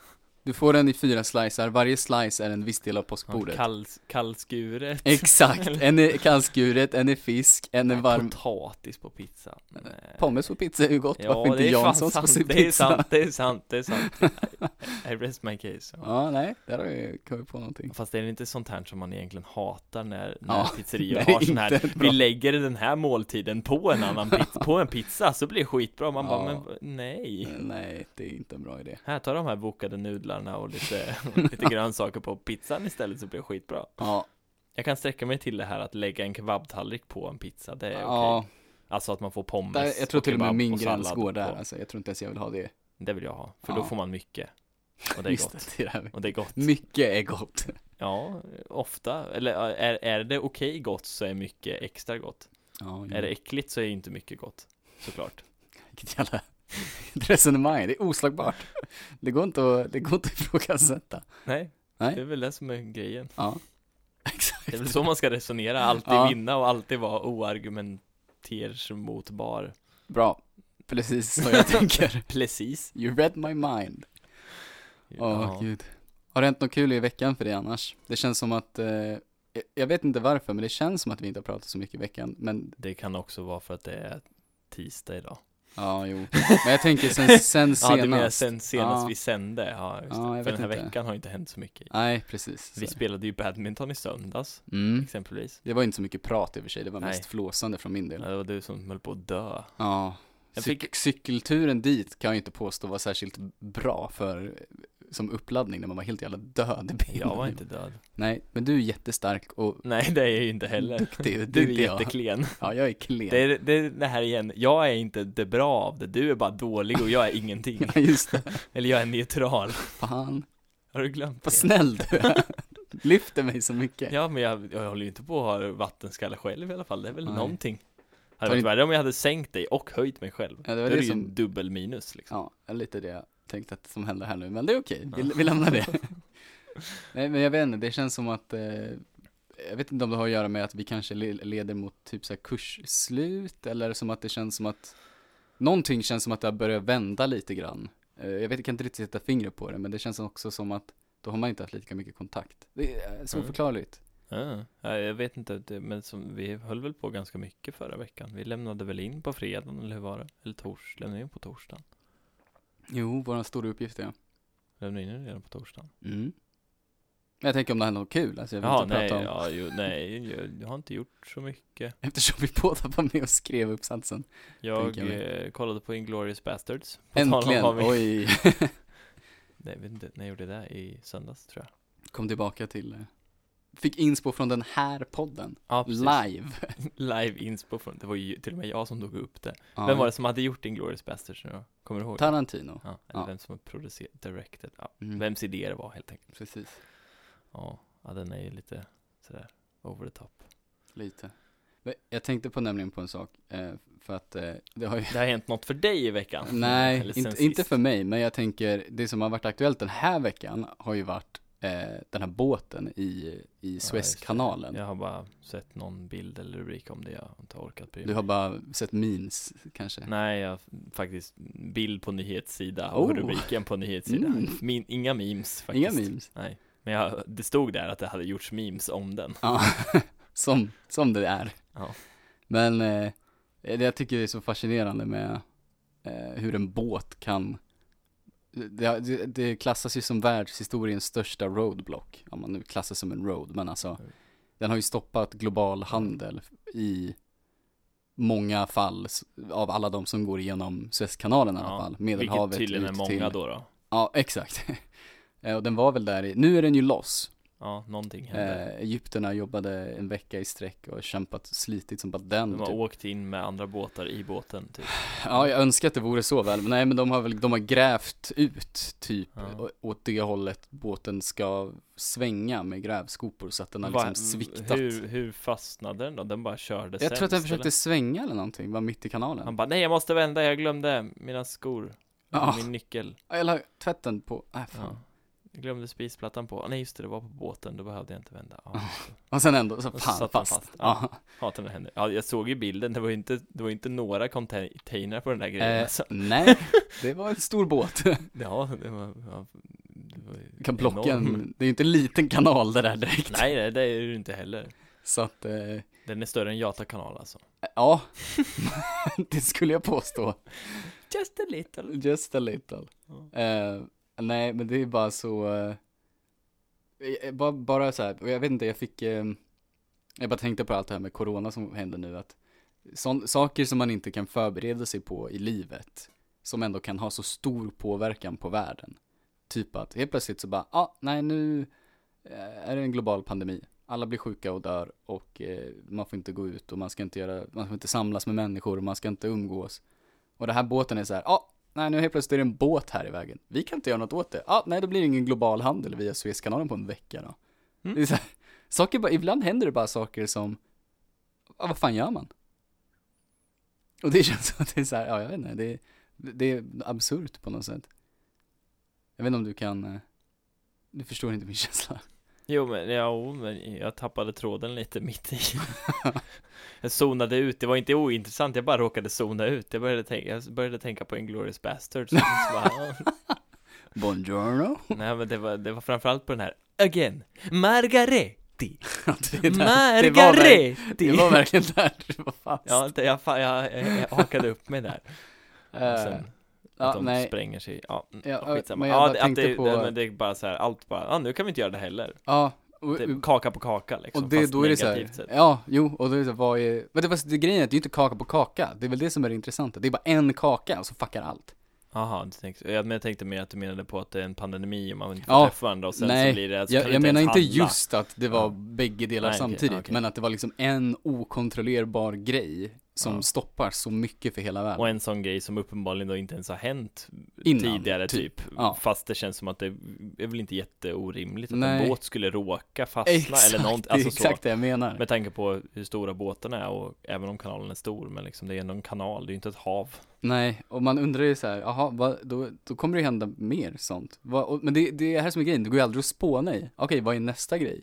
[SPEAKER 2] Du får den i fyra slicer. Varje slice är en viss del av
[SPEAKER 1] ha
[SPEAKER 2] påskbordet.
[SPEAKER 1] kall, kallskuret.
[SPEAKER 2] Exakt.
[SPEAKER 1] Eller-
[SPEAKER 2] En är kallskuret, en är fisk, en är
[SPEAKER 1] Nej,
[SPEAKER 2] varm.
[SPEAKER 1] Potatis på pizza. Nej.
[SPEAKER 2] Pommes på pizza är ju gott. Varför
[SPEAKER 1] det
[SPEAKER 2] inte
[SPEAKER 1] är fan
[SPEAKER 2] Janssons på
[SPEAKER 1] sant,
[SPEAKER 2] sin
[SPEAKER 1] det är
[SPEAKER 2] pizza?
[SPEAKER 1] sant, det är sant, det är sant. I rest my case. Ja.
[SPEAKER 2] Ja, nej, där har vi kommit på någonting.
[SPEAKER 1] Fast det är inte sånt här som man egentligen hatar när, när
[SPEAKER 2] Ja,
[SPEAKER 1] pizzerior
[SPEAKER 2] nej,
[SPEAKER 1] har sån
[SPEAKER 2] inte
[SPEAKER 1] här,
[SPEAKER 2] bra.
[SPEAKER 1] vi lägger den här måltiden på en annan pizza, på en pizza så blir det skitbra. Man bara,
[SPEAKER 2] Ja.
[SPEAKER 1] men v- nej.
[SPEAKER 2] Nej, det är inte en bra idé.
[SPEAKER 1] Här tar de här bokade nudlarna och lite, lite grönsaker på pizzan istället så blir det skitbra.
[SPEAKER 2] Ja,
[SPEAKER 1] Jag kan sträcka mig till det här att lägga en kebabtallrik på en pizza, det är okej.
[SPEAKER 2] ja
[SPEAKER 1] Alltså att man får pommes
[SPEAKER 2] där, jag tror till och med
[SPEAKER 1] kebab
[SPEAKER 2] min
[SPEAKER 1] sallad
[SPEAKER 2] gräns går där.
[SPEAKER 1] på.
[SPEAKER 2] Alltså, jag tror inte ens jag vill ha det.
[SPEAKER 1] Det vill jag ha, för
[SPEAKER 2] Ja.
[SPEAKER 1] då får man mycket. Och det är
[SPEAKER 2] Just
[SPEAKER 1] gott.
[SPEAKER 2] det, det där.
[SPEAKER 1] Och det är gott.
[SPEAKER 2] Mycket är gott.
[SPEAKER 1] Ja, ofta. Eller ja, är, är det okej gott så är mycket extra gott.
[SPEAKER 2] Ja,
[SPEAKER 1] Är det äckligt så är inte mycket gott. Såklart.
[SPEAKER 2] Vilket jävla resonemang, det är oslagbart. Det går inte att, det går inte att ifrågasätta.
[SPEAKER 1] Nej,
[SPEAKER 2] Nej.
[SPEAKER 1] det är väl det som är grejen.
[SPEAKER 2] Ja,
[SPEAKER 1] Det är
[SPEAKER 2] exakt.
[SPEAKER 1] väl så man ska resonera. Alltid
[SPEAKER 2] Ja.
[SPEAKER 1] vinna och alltid vara oargumentersmotbar.
[SPEAKER 2] Bra, precis så jag tänker.
[SPEAKER 1] Precis.
[SPEAKER 2] You read my mind. Åh
[SPEAKER 1] Ja.
[SPEAKER 2] gud. Har det hänt något kul i veckan för dig annars? Det känns som att, eh, jag- jag vet inte varför, men det känns som att vi inte har pratat så mycket i veckan. Men
[SPEAKER 1] Det kan också vara för att det är tisdag idag.
[SPEAKER 2] ja, jo. Men jag tänker sen, sen
[SPEAKER 1] Ja, du menar
[SPEAKER 2] senast.
[SPEAKER 1] sen senast
[SPEAKER 2] Ja.
[SPEAKER 1] vi sände? Ja, just det.
[SPEAKER 2] Ja, jag
[SPEAKER 1] För
[SPEAKER 2] vet
[SPEAKER 1] den här
[SPEAKER 2] inte.
[SPEAKER 1] veckan har inte hänt så mycket.
[SPEAKER 2] Nej, precis.
[SPEAKER 1] Vi
[SPEAKER 2] Så.
[SPEAKER 1] spelade ju badminton i söndags,
[SPEAKER 2] Mm.
[SPEAKER 1] exempelvis.
[SPEAKER 2] Det var inte så mycket prat i och för sig, det var
[SPEAKER 1] Nej.
[SPEAKER 2] mest flåsande från min del.
[SPEAKER 1] Ja, Det var du som höll på att dö.
[SPEAKER 2] Ja.
[SPEAKER 1] Jag
[SPEAKER 2] Cyk- Cykelturen dit kan jag ju inte påstå var särskilt bra för som uppladdning när man var helt jävla död i benen.
[SPEAKER 1] Jag var inte död.
[SPEAKER 2] Nej, men du är jättestark och
[SPEAKER 1] Nej, det är jag ju inte heller.
[SPEAKER 2] duktig. och det
[SPEAKER 1] Du är
[SPEAKER 2] inte jag.
[SPEAKER 1] jätteklen.
[SPEAKER 2] Ja, jag är klen.
[SPEAKER 1] Det är, det är det här igen, jag är inte det bra av det, du är bara dålig och jag är ingenting.
[SPEAKER 2] Ja, just det.
[SPEAKER 1] Eller jag är neutral.
[SPEAKER 2] Fan,
[SPEAKER 1] Har du glömt
[SPEAKER 2] vad
[SPEAKER 1] det?
[SPEAKER 2] snäll du är. Lyfter mig så mycket.
[SPEAKER 1] Ja, men jag, jag håller ju inte på att ha vattenskalle själv i alla fall, det är väl
[SPEAKER 2] Nej.
[SPEAKER 1] någonting.
[SPEAKER 2] Tar
[SPEAKER 1] Hade varit
[SPEAKER 2] inte-
[SPEAKER 1] värre om jag hade sänkt dig och höjt mig själv.
[SPEAKER 2] Ja, det
[SPEAKER 1] Då
[SPEAKER 2] var
[SPEAKER 1] är
[SPEAKER 2] det
[SPEAKER 1] det ju
[SPEAKER 2] som-
[SPEAKER 1] en dubbel minus liksom.
[SPEAKER 2] Ja, lite det jag tänkte att som hände här nu, men det är okej, vi,
[SPEAKER 1] Ja.
[SPEAKER 2] vi lämnar det. Nej, men jag vet inte, det känns som att, eh, jag vet inte om det har att göra med att vi kanske le- leder mot typ så här kursslut, eller som att det känns som att, någonting känns som att det har börjat vända lite grann. Eh, jag vet, jag kan inte riktigt sätta fingret på det, men det känns också som att då har man inte haft lika mycket kontakt. Det är eh, så
[SPEAKER 1] Mm.
[SPEAKER 2] oförklarligt.
[SPEAKER 1] Ja, ja, jag vet inte, det- men som, vi höll väl på ganska mycket förra veckan. Vi lämnade väl in på fredagen, eller hur var det? Eller tors, lämnade vi in på torsdagen?
[SPEAKER 2] Jo, våran stora uppgift ja.
[SPEAKER 1] Lämnade vi in den redan på torsdagen?
[SPEAKER 2] Mm. Men jag tänker om det här är något kul, alltså jag vill
[SPEAKER 1] Ja,
[SPEAKER 2] inte
[SPEAKER 1] nej,
[SPEAKER 2] prata om,
[SPEAKER 1] ja, jo, nej, jag, jag har inte gjort så mycket.
[SPEAKER 2] eftersom vi båda var med och skrev uppsatsen.
[SPEAKER 1] Jag
[SPEAKER 2] Tänker jag
[SPEAKER 1] eh, kollade på Inglourious Bastards. På tal om
[SPEAKER 2] Äntligen,
[SPEAKER 1] vad vi-
[SPEAKER 2] oj.
[SPEAKER 1] Nej, jag vet inte, när jag gjorde det i söndags tror jag.
[SPEAKER 2] Kom tillbaka till, eh, fick inspo från den här podden,
[SPEAKER 1] Ja, precis.
[SPEAKER 2] live.
[SPEAKER 1] Live inspo från, det var ju till och med jag som tog upp det.
[SPEAKER 2] Ja,
[SPEAKER 1] Vem var det som hade gjort Inglourious Bastards nu då? Kommer du ihåg?
[SPEAKER 2] Tarantino.
[SPEAKER 1] ja, eller
[SPEAKER 2] Ja.
[SPEAKER 1] vem som producerat, directed, ja.
[SPEAKER 2] Mm,
[SPEAKER 1] Vems idé det var helt enkelt.
[SPEAKER 2] Precis,
[SPEAKER 1] Ja, ja den är ju lite sådär over the top.
[SPEAKER 2] lite. Men Jag tänkte på nämligen på en sak, eh, för att eh, det har ju
[SPEAKER 1] Det har hänt något för dig i veckan?
[SPEAKER 2] Nej,
[SPEAKER 1] Eller sen
[SPEAKER 2] inte, inte
[SPEAKER 1] sist.
[SPEAKER 2] för mig, men jag tänker, det som har varit aktuellt den här veckan har ju varit eh, den här båten i, i
[SPEAKER 1] Ja,
[SPEAKER 2] Suezkanalen.
[SPEAKER 1] just det. Jag har bara sett någon bild eller rubrik om det, jag har inte orkat bry mig.
[SPEAKER 2] Du har bara sett memes kanske?
[SPEAKER 1] Nej, jag har faktiskt bild på nyhetssida
[SPEAKER 2] Oh.
[SPEAKER 1] och rubriken på nyhetssida.
[SPEAKER 2] Mm.
[SPEAKER 1] Min, inga memes faktiskt.
[SPEAKER 2] Inga memes?
[SPEAKER 1] Nej, men jag, det stod där att det hade gjorts memes om den.
[SPEAKER 2] Ja, som, som det är.
[SPEAKER 1] Ja.
[SPEAKER 2] Men eh, det jag tycker är så fascinerande med eh, hur en båt kan det, det- det klassas ju som världshistoriens största roadblock, om man nu klassas som en road, men alltså
[SPEAKER 1] Mm.
[SPEAKER 2] den har ju stoppat global handel i många fall s- av alla de som går igenom Suezkanalen i alla
[SPEAKER 1] Ja,
[SPEAKER 2] fall,
[SPEAKER 1] Vilket
[SPEAKER 2] Medelhavet
[SPEAKER 1] tydligen är
[SPEAKER 2] ut
[SPEAKER 1] många
[SPEAKER 2] till,
[SPEAKER 1] då då.
[SPEAKER 2] Ja, exakt. Eh, Och den var väl där i, nu är den ju loss,
[SPEAKER 1] Ja, någonting hände.
[SPEAKER 2] Eh, Egypterna jobbade en vecka i sträck och kämpat slitit som bara den.
[SPEAKER 1] De har
[SPEAKER 2] Typ.
[SPEAKER 1] åkt in med andra båtar i båten typ.
[SPEAKER 2] Ja, jag önskar att det vore så väl, men nej men de har väl, de har grävt ut typ
[SPEAKER 1] Ja.
[SPEAKER 2] å- åt det hållet båten ska svänga med grävskopor så att den har
[SPEAKER 1] Va-
[SPEAKER 2] liksom sviktat.
[SPEAKER 1] Hur, hur fastnade den då? Den bara körde
[SPEAKER 2] jag tror att den
[SPEAKER 1] sämst,
[SPEAKER 2] försökte
[SPEAKER 1] eller?
[SPEAKER 2] svänga eller någonting, var mitt i kanalen.
[SPEAKER 1] Han bara, nej jag måste vända, jag glömde mina skor.
[SPEAKER 2] Ja.
[SPEAKER 1] Min nyckel.
[SPEAKER 2] Jag la tvätten på, äh, fan.
[SPEAKER 1] Ja. Jag glömde spisplattan på, nej just det, det var på båten, då behövde jag inte vända. Ja.
[SPEAKER 2] Och sen ändå, så
[SPEAKER 1] Och så
[SPEAKER 2] fan
[SPEAKER 1] satt den
[SPEAKER 2] fast.
[SPEAKER 1] fast.
[SPEAKER 2] Ja.
[SPEAKER 1] Hatar när det händer. Ja, jag såg ju bilden, det var ju inte, det var ju inte några containrar på den där grejen.
[SPEAKER 2] Eh,
[SPEAKER 1] alltså.
[SPEAKER 2] nej, det var en stor båt.
[SPEAKER 1] Ja, det var, ja, det var ju
[SPEAKER 2] Kan blocka
[SPEAKER 1] enorm.
[SPEAKER 2] en, det är ju inte en liten kanal det där direkt.
[SPEAKER 1] Nej, det, det är det inte heller.
[SPEAKER 2] Så att, eh,
[SPEAKER 1] Den är större än Jata kanal alltså.
[SPEAKER 2] Ja, det skulle jag påstå.
[SPEAKER 1] Just a little.
[SPEAKER 2] Just a little.
[SPEAKER 1] Ja.
[SPEAKER 2] Eh, Nej, men det är bara så, eh, bara, bara så här, och jag vet inte, jag fick, eh, jag bara tänkte på allt det här med corona som händer nu, att sån, saker som man inte kan förbereda sig på i livet, som ändå kan ha så stor påverkan på världen. Typ att helt plötsligt så bara, ja, ah, nej nu eh, är det en global pandemi. Alla blir sjuka och dör och eh, man får inte gå ut och man ska inte göra, man får inte samlas med människor och man ska inte umgås. Och den här båten är så här, ja, ah, nej nu helt plötsligt är det en båt här i vägen. Vi kan inte göra något åt det. Ja, ah, nej då blir det ingen global handel via Suezkanalen på en vecka då.
[SPEAKER 1] Mm.
[SPEAKER 2] Det är så här, saker bara, ibland händer det bara saker som, ah, vad fan gör man? Och det känns som att det är så här, ja jag vet inte, det är, det är absurt på något sätt. Jag vet inte om du kan, eh, du förstår inte min känsla.
[SPEAKER 1] Jo men, ja, men jag tappade tråden lite mitt i. jag zonade ut, det var inte ointressant, jag bara råkade zona ut. Jag började tänka, jag började tänka på Inglourious Basterds. och så bara, "Ah."
[SPEAKER 2] Buongiorno.
[SPEAKER 1] Nej men det var, det var framförallt på den här, again, Margaretti,
[SPEAKER 2] det, är där- det, var verk-
[SPEAKER 1] Margaretti.
[SPEAKER 2] det var verkligen där du var fast.
[SPEAKER 1] Ja, inte- jag, fa- jag, jag, jag hakade upp mig där. Och sen,
[SPEAKER 2] Eh,
[SPEAKER 1] att
[SPEAKER 2] ja,
[SPEAKER 1] de
[SPEAKER 2] nej.
[SPEAKER 1] spränger sig, ja, mm,
[SPEAKER 2] Ja,
[SPEAKER 1] ja skitsamma.
[SPEAKER 2] men jag
[SPEAKER 1] Ja,
[SPEAKER 2] bara
[SPEAKER 1] det- att det,
[SPEAKER 2] tänkte på-
[SPEAKER 1] det, men det är bara så här, allt bara, ja nu kan vi inte göra det heller.
[SPEAKER 2] Ja, och,
[SPEAKER 1] Det är kaka på kaka liksom,
[SPEAKER 2] och det,
[SPEAKER 1] fast
[SPEAKER 2] då är det så här,
[SPEAKER 1] negativt sett.
[SPEAKER 2] ja, jo, och då är det så här, vad är, men det, fast det grejen är att det är inte kaka på kaka, det är väl det som är det intressanta, det är bara en kaka och så fuckar allt.
[SPEAKER 1] Jaha, du tänkte, jag, men jag tänkte mer att du menade på att det är en pandemi och man inte får
[SPEAKER 2] Ja,
[SPEAKER 1] träffa varandra och sen
[SPEAKER 2] nej,
[SPEAKER 1] så blir det att
[SPEAKER 2] jag jag menar inte just att det var
[SPEAKER 1] Ja.
[SPEAKER 2] bägge delar
[SPEAKER 1] Nej, okej,
[SPEAKER 2] samtidigt,
[SPEAKER 1] ja, okej.
[SPEAKER 2] men att det var liksom en okontrollerbar grej som
[SPEAKER 1] Ja.
[SPEAKER 2] stoppar så mycket för hela världen.
[SPEAKER 1] Och en sån grej som uppenbarligen då inte ens har hänt
[SPEAKER 2] Innan,
[SPEAKER 1] tidigare
[SPEAKER 2] typ.
[SPEAKER 1] typ,
[SPEAKER 2] Ja.
[SPEAKER 1] Fast det känns som att det är väl inte jätteorimligt att
[SPEAKER 2] Nej.
[SPEAKER 1] en båt skulle råka fastna eller någonting,
[SPEAKER 2] det är
[SPEAKER 1] alltså så
[SPEAKER 2] exakt det jag menar.
[SPEAKER 1] Med tanke på hur stora båtarna är och även om kanalen är stor men liksom det är ändå en kanal, det är ju inte ett hav
[SPEAKER 2] Nej, och man undrar ju så här, jaha, vad- då, då kommer det hända mer sånt. Vad- och, men det, det är här som är grejen, det går ju aldrig att spåna i. Okej, vad är nästa grej?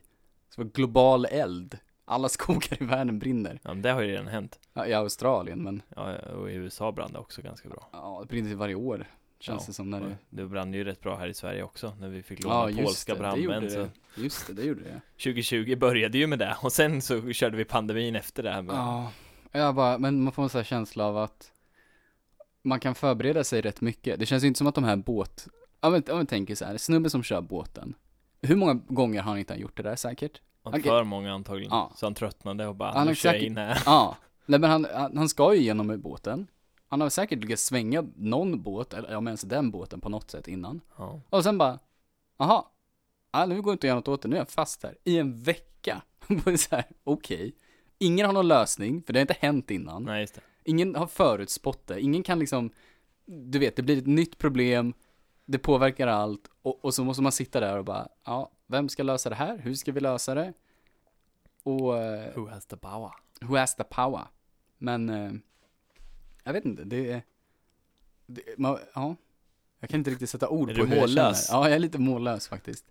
[SPEAKER 2] Så global eld. Alla skogar i världen brinner.
[SPEAKER 1] ja, men Det har ju redan hänt
[SPEAKER 2] Ja, I Australien, men
[SPEAKER 1] ja, och i USA brann det också ganska bra
[SPEAKER 2] ja, det brinner ju varje år. Känns
[SPEAKER 1] Ja,
[SPEAKER 2] det som när
[SPEAKER 1] och
[SPEAKER 2] det...
[SPEAKER 1] Det brann ju rätt bra här i Sverige också när vi fick låna
[SPEAKER 2] Ja, just
[SPEAKER 1] polska
[SPEAKER 2] det, det gjorde
[SPEAKER 1] brandmän så
[SPEAKER 2] det. Just det, det gjorde det.
[SPEAKER 1] 2020 började ju med det och sen så körde vi pandemin efter det här med
[SPEAKER 2] Ja, jag bara, men man får en sån här känsla av att man kan förbereda sig rätt mycket. Det känns ju inte som att de här båt, ja men, om vi tänker så här, snubben som kör båten. Hur många gånger har han inte gjort det där säkert?
[SPEAKER 1] okay.
[SPEAKER 2] okej.
[SPEAKER 1] för många antagligen.
[SPEAKER 2] Ja.
[SPEAKER 1] Så han tröttnade och bara,
[SPEAKER 2] Han har
[SPEAKER 1] nu kör jag
[SPEAKER 2] säkert-
[SPEAKER 1] in här.
[SPEAKER 2] Ja, nej men han, han han ska ju igenom med båten. Han har säkert lyckats svänga någon båt, eller om ens den båten på något sätt innan.
[SPEAKER 1] Ja.
[SPEAKER 2] Och sen bara, aha, ja, nu går det inte att göra något åt det, nu är jag fast här. I en vecka. Och det är så här, Okej. Ingen har någon lösning, för det har inte hänt innan.
[SPEAKER 1] Nej just det.
[SPEAKER 2] Ingen har förutspått det. Ingen kan liksom, du vet, det blir ett nytt problem, det påverkar allt och, och så måste man sitta där och bara, ja, vem ska lösa det här? Hur ska vi lösa det? Och eh,
[SPEAKER 1] Who has the power?
[SPEAKER 2] who has the power? Men, eh, jag vet inte, det är, det, man, ja, jag kan inte riktigt sätta ord
[SPEAKER 1] Är
[SPEAKER 2] på
[SPEAKER 1] du
[SPEAKER 2] hur jag
[SPEAKER 1] mållös?
[SPEAKER 2] känner. Ja, jag är lite mållös faktiskt.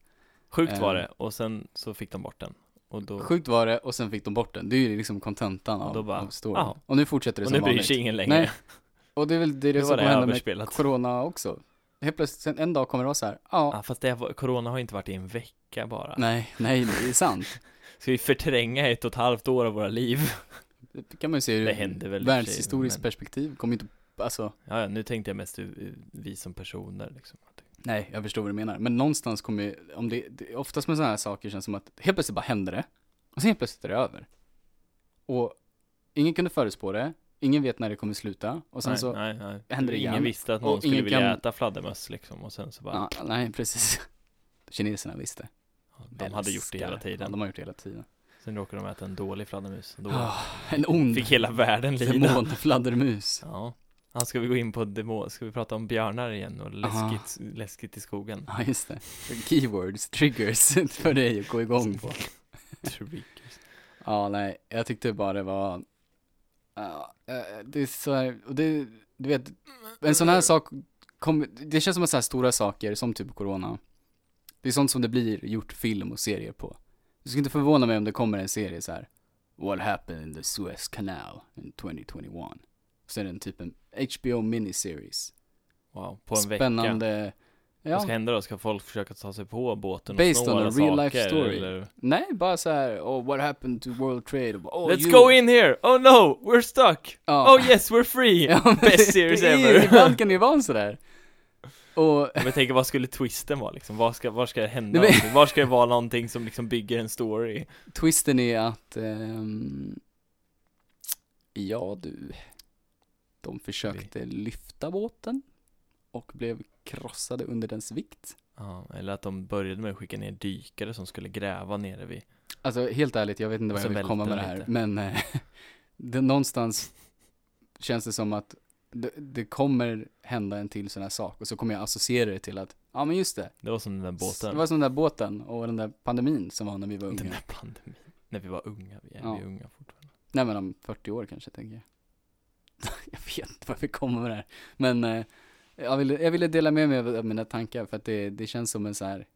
[SPEAKER 1] Sjukt var
[SPEAKER 2] Eh.
[SPEAKER 1] det och sen så fick de bort den. Och då,
[SPEAKER 2] Sjukt var det och sen fick de bort den. Det är ju liksom kontentan
[SPEAKER 1] Och då
[SPEAKER 2] av,
[SPEAKER 1] bara,
[SPEAKER 2] av storyn.
[SPEAKER 1] "Jaha."
[SPEAKER 2] Och nu fortsätter det
[SPEAKER 1] och
[SPEAKER 2] som
[SPEAKER 1] nu
[SPEAKER 2] vanligt.
[SPEAKER 1] bryr sig ingen längre.
[SPEAKER 2] Nej. Och det är väl det, är det
[SPEAKER 1] nu var
[SPEAKER 2] som
[SPEAKER 1] det
[SPEAKER 2] kommer hända med
[SPEAKER 1] överspelat.
[SPEAKER 2] corona också. Helt plötsligt, sen en dag kommer det vara så här, ja,
[SPEAKER 1] Ja, fast det var, corona har inte varit i en vecka bara.
[SPEAKER 2] nej, nej, det är sant.
[SPEAKER 1] Ska vi förtränga ett och ett halvt år av våra liv?
[SPEAKER 2] Det kan man ju se ur
[SPEAKER 1] Det händer väl i och för sig,
[SPEAKER 2] världshistoriskt
[SPEAKER 1] men-
[SPEAKER 2] perspektiv, kommer inte, alltså,
[SPEAKER 1] Ja, ja, nu tänkte jag mest ur- ur vi som personer liksom.
[SPEAKER 2] nej, jag förstår vad du menar. Men någonstans kommer ju, om det, det oftast med sådana här saker känns det som att helt plötsligt bara händer det, och sen helt plötsligt är det över. Och ingen kunde förutspå det, ingen vet när det kommer sluta, och sen
[SPEAKER 1] nej,
[SPEAKER 2] så,
[SPEAKER 1] nej, nej.
[SPEAKER 2] händer det igen.
[SPEAKER 1] Ingen visste att
[SPEAKER 2] Och
[SPEAKER 1] någon skulle
[SPEAKER 2] ingen
[SPEAKER 1] vilja
[SPEAKER 2] kan-
[SPEAKER 1] äta fladdermöss liksom och sen så bara,
[SPEAKER 2] ja, nej, precis. Kineserna visste.
[SPEAKER 1] de hade gjort det
[SPEAKER 2] Älskar.
[SPEAKER 1] hela
[SPEAKER 2] Ja,
[SPEAKER 1] tiden.
[SPEAKER 2] de har gjort det hela tiden.
[SPEAKER 1] Sen råkade de äta en dålig fladdermus. Då
[SPEAKER 2] Ah, en ond
[SPEAKER 1] fick hela världen lida.
[SPEAKER 2] demonfladdermus.
[SPEAKER 1] Ja. ja, ska vi gå in på demo, ska vi prata om björnar igen och
[SPEAKER 2] Aha.
[SPEAKER 1] läskigt, läskigt i skogen?
[SPEAKER 2] Ja, just det. Keywords, triggers för dig att gå igång på.
[SPEAKER 1] Triggers.
[SPEAKER 2] Ja, nej, jag tyckte bara det var... Ja, eh, det är så här, och det, du vet, en sån här sak, kom, det känns som att så här stora saker som typ corona, det är sånt som det blir gjort film och serier på. Det skulle inte förvåna mig om det kommer en serie så här. What happened in the Suez Canal in 2021? Så är den typ en HBO miniseries.
[SPEAKER 1] Wow, på en vecka.
[SPEAKER 2] Spännande.
[SPEAKER 1] Vad
[SPEAKER 2] Ja,
[SPEAKER 1] ska hända då? Ska folk försöka ta sig på båten och
[SPEAKER 2] Based
[SPEAKER 1] snå
[SPEAKER 2] on a
[SPEAKER 1] alla
[SPEAKER 2] real life
[SPEAKER 1] saker,
[SPEAKER 2] story.
[SPEAKER 1] Eller?
[SPEAKER 2] nej, bara så här, oh what happened to World Trade? Oh,
[SPEAKER 1] Let's
[SPEAKER 2] you-
[SPEAKER 1] go in here! Oh no, we're stuck!
[SPEAKER 2] Ja.
[SPEAKER 1] Oh yes, we're free!
[SPEAKER 2] Ja, men
[SPEAKER 1] Best
[SPEAKER 2] det-
[SPEAKER 1] series
[SPEAKER 2] det är-
[SPEAKER 1] ever.
[SPEAKER 2] Ibland kan det ju vara en sådär. Och
[SPEAKER 1] Men jag tänker, vad skulle twisten vara liksom? Vad ska, var ska det hända?
[SPEAKER 2] Nej, men-
[SPEAKER 1] någonting? Var ska det vara någonting som liksom bygger en story?
[SPEAKER 2] twisten är att, ehm, ja du, de försökte lyfta båten och blev krossade under dens vikt.
[SPEAKER 1] Ja, eller att de började med att skicka ner dykare som skulle gräva nere vid
[SPEAKER 2] Alltså helt ärligt, jag vet inte
[SPEAKER 1] Och
[SPEAKER 2] vad
[SPEAKER 1] så
[SPEAKER 2] jag vill
[SPEAKER 1] välte
[SPEAKER 2] komma med det
[SPEAKER 1] den
[SPEAKER 2] här,
[SPEAKER 1] lite.
[SPEAKER 2] men eh, det, någonstans känns det som att det, det kommer hända en till sån här sak och så kommer jag associera det till att, ja men just det,
[SPEAKER 1] Det var som den där
[SPEAKER 2] det
[SPEAKER 1] båten
[SPEAKER 2] var som den där båten och den där pandemin som var när vi var unga.
[SPEAKER 1] Den där pandemin När vi var unga, vi är
[SPEAKER 2] Ja.
[SPEAKER 1] vi är unga fortfarande
[SPEAKER 2] Nej men om 40 år kanske tänker jag. jag vet inte varför jag kommer med det här. Men eh, jag, ville, jag ville dela med mig av mina tankar för att det, det känns som en så här.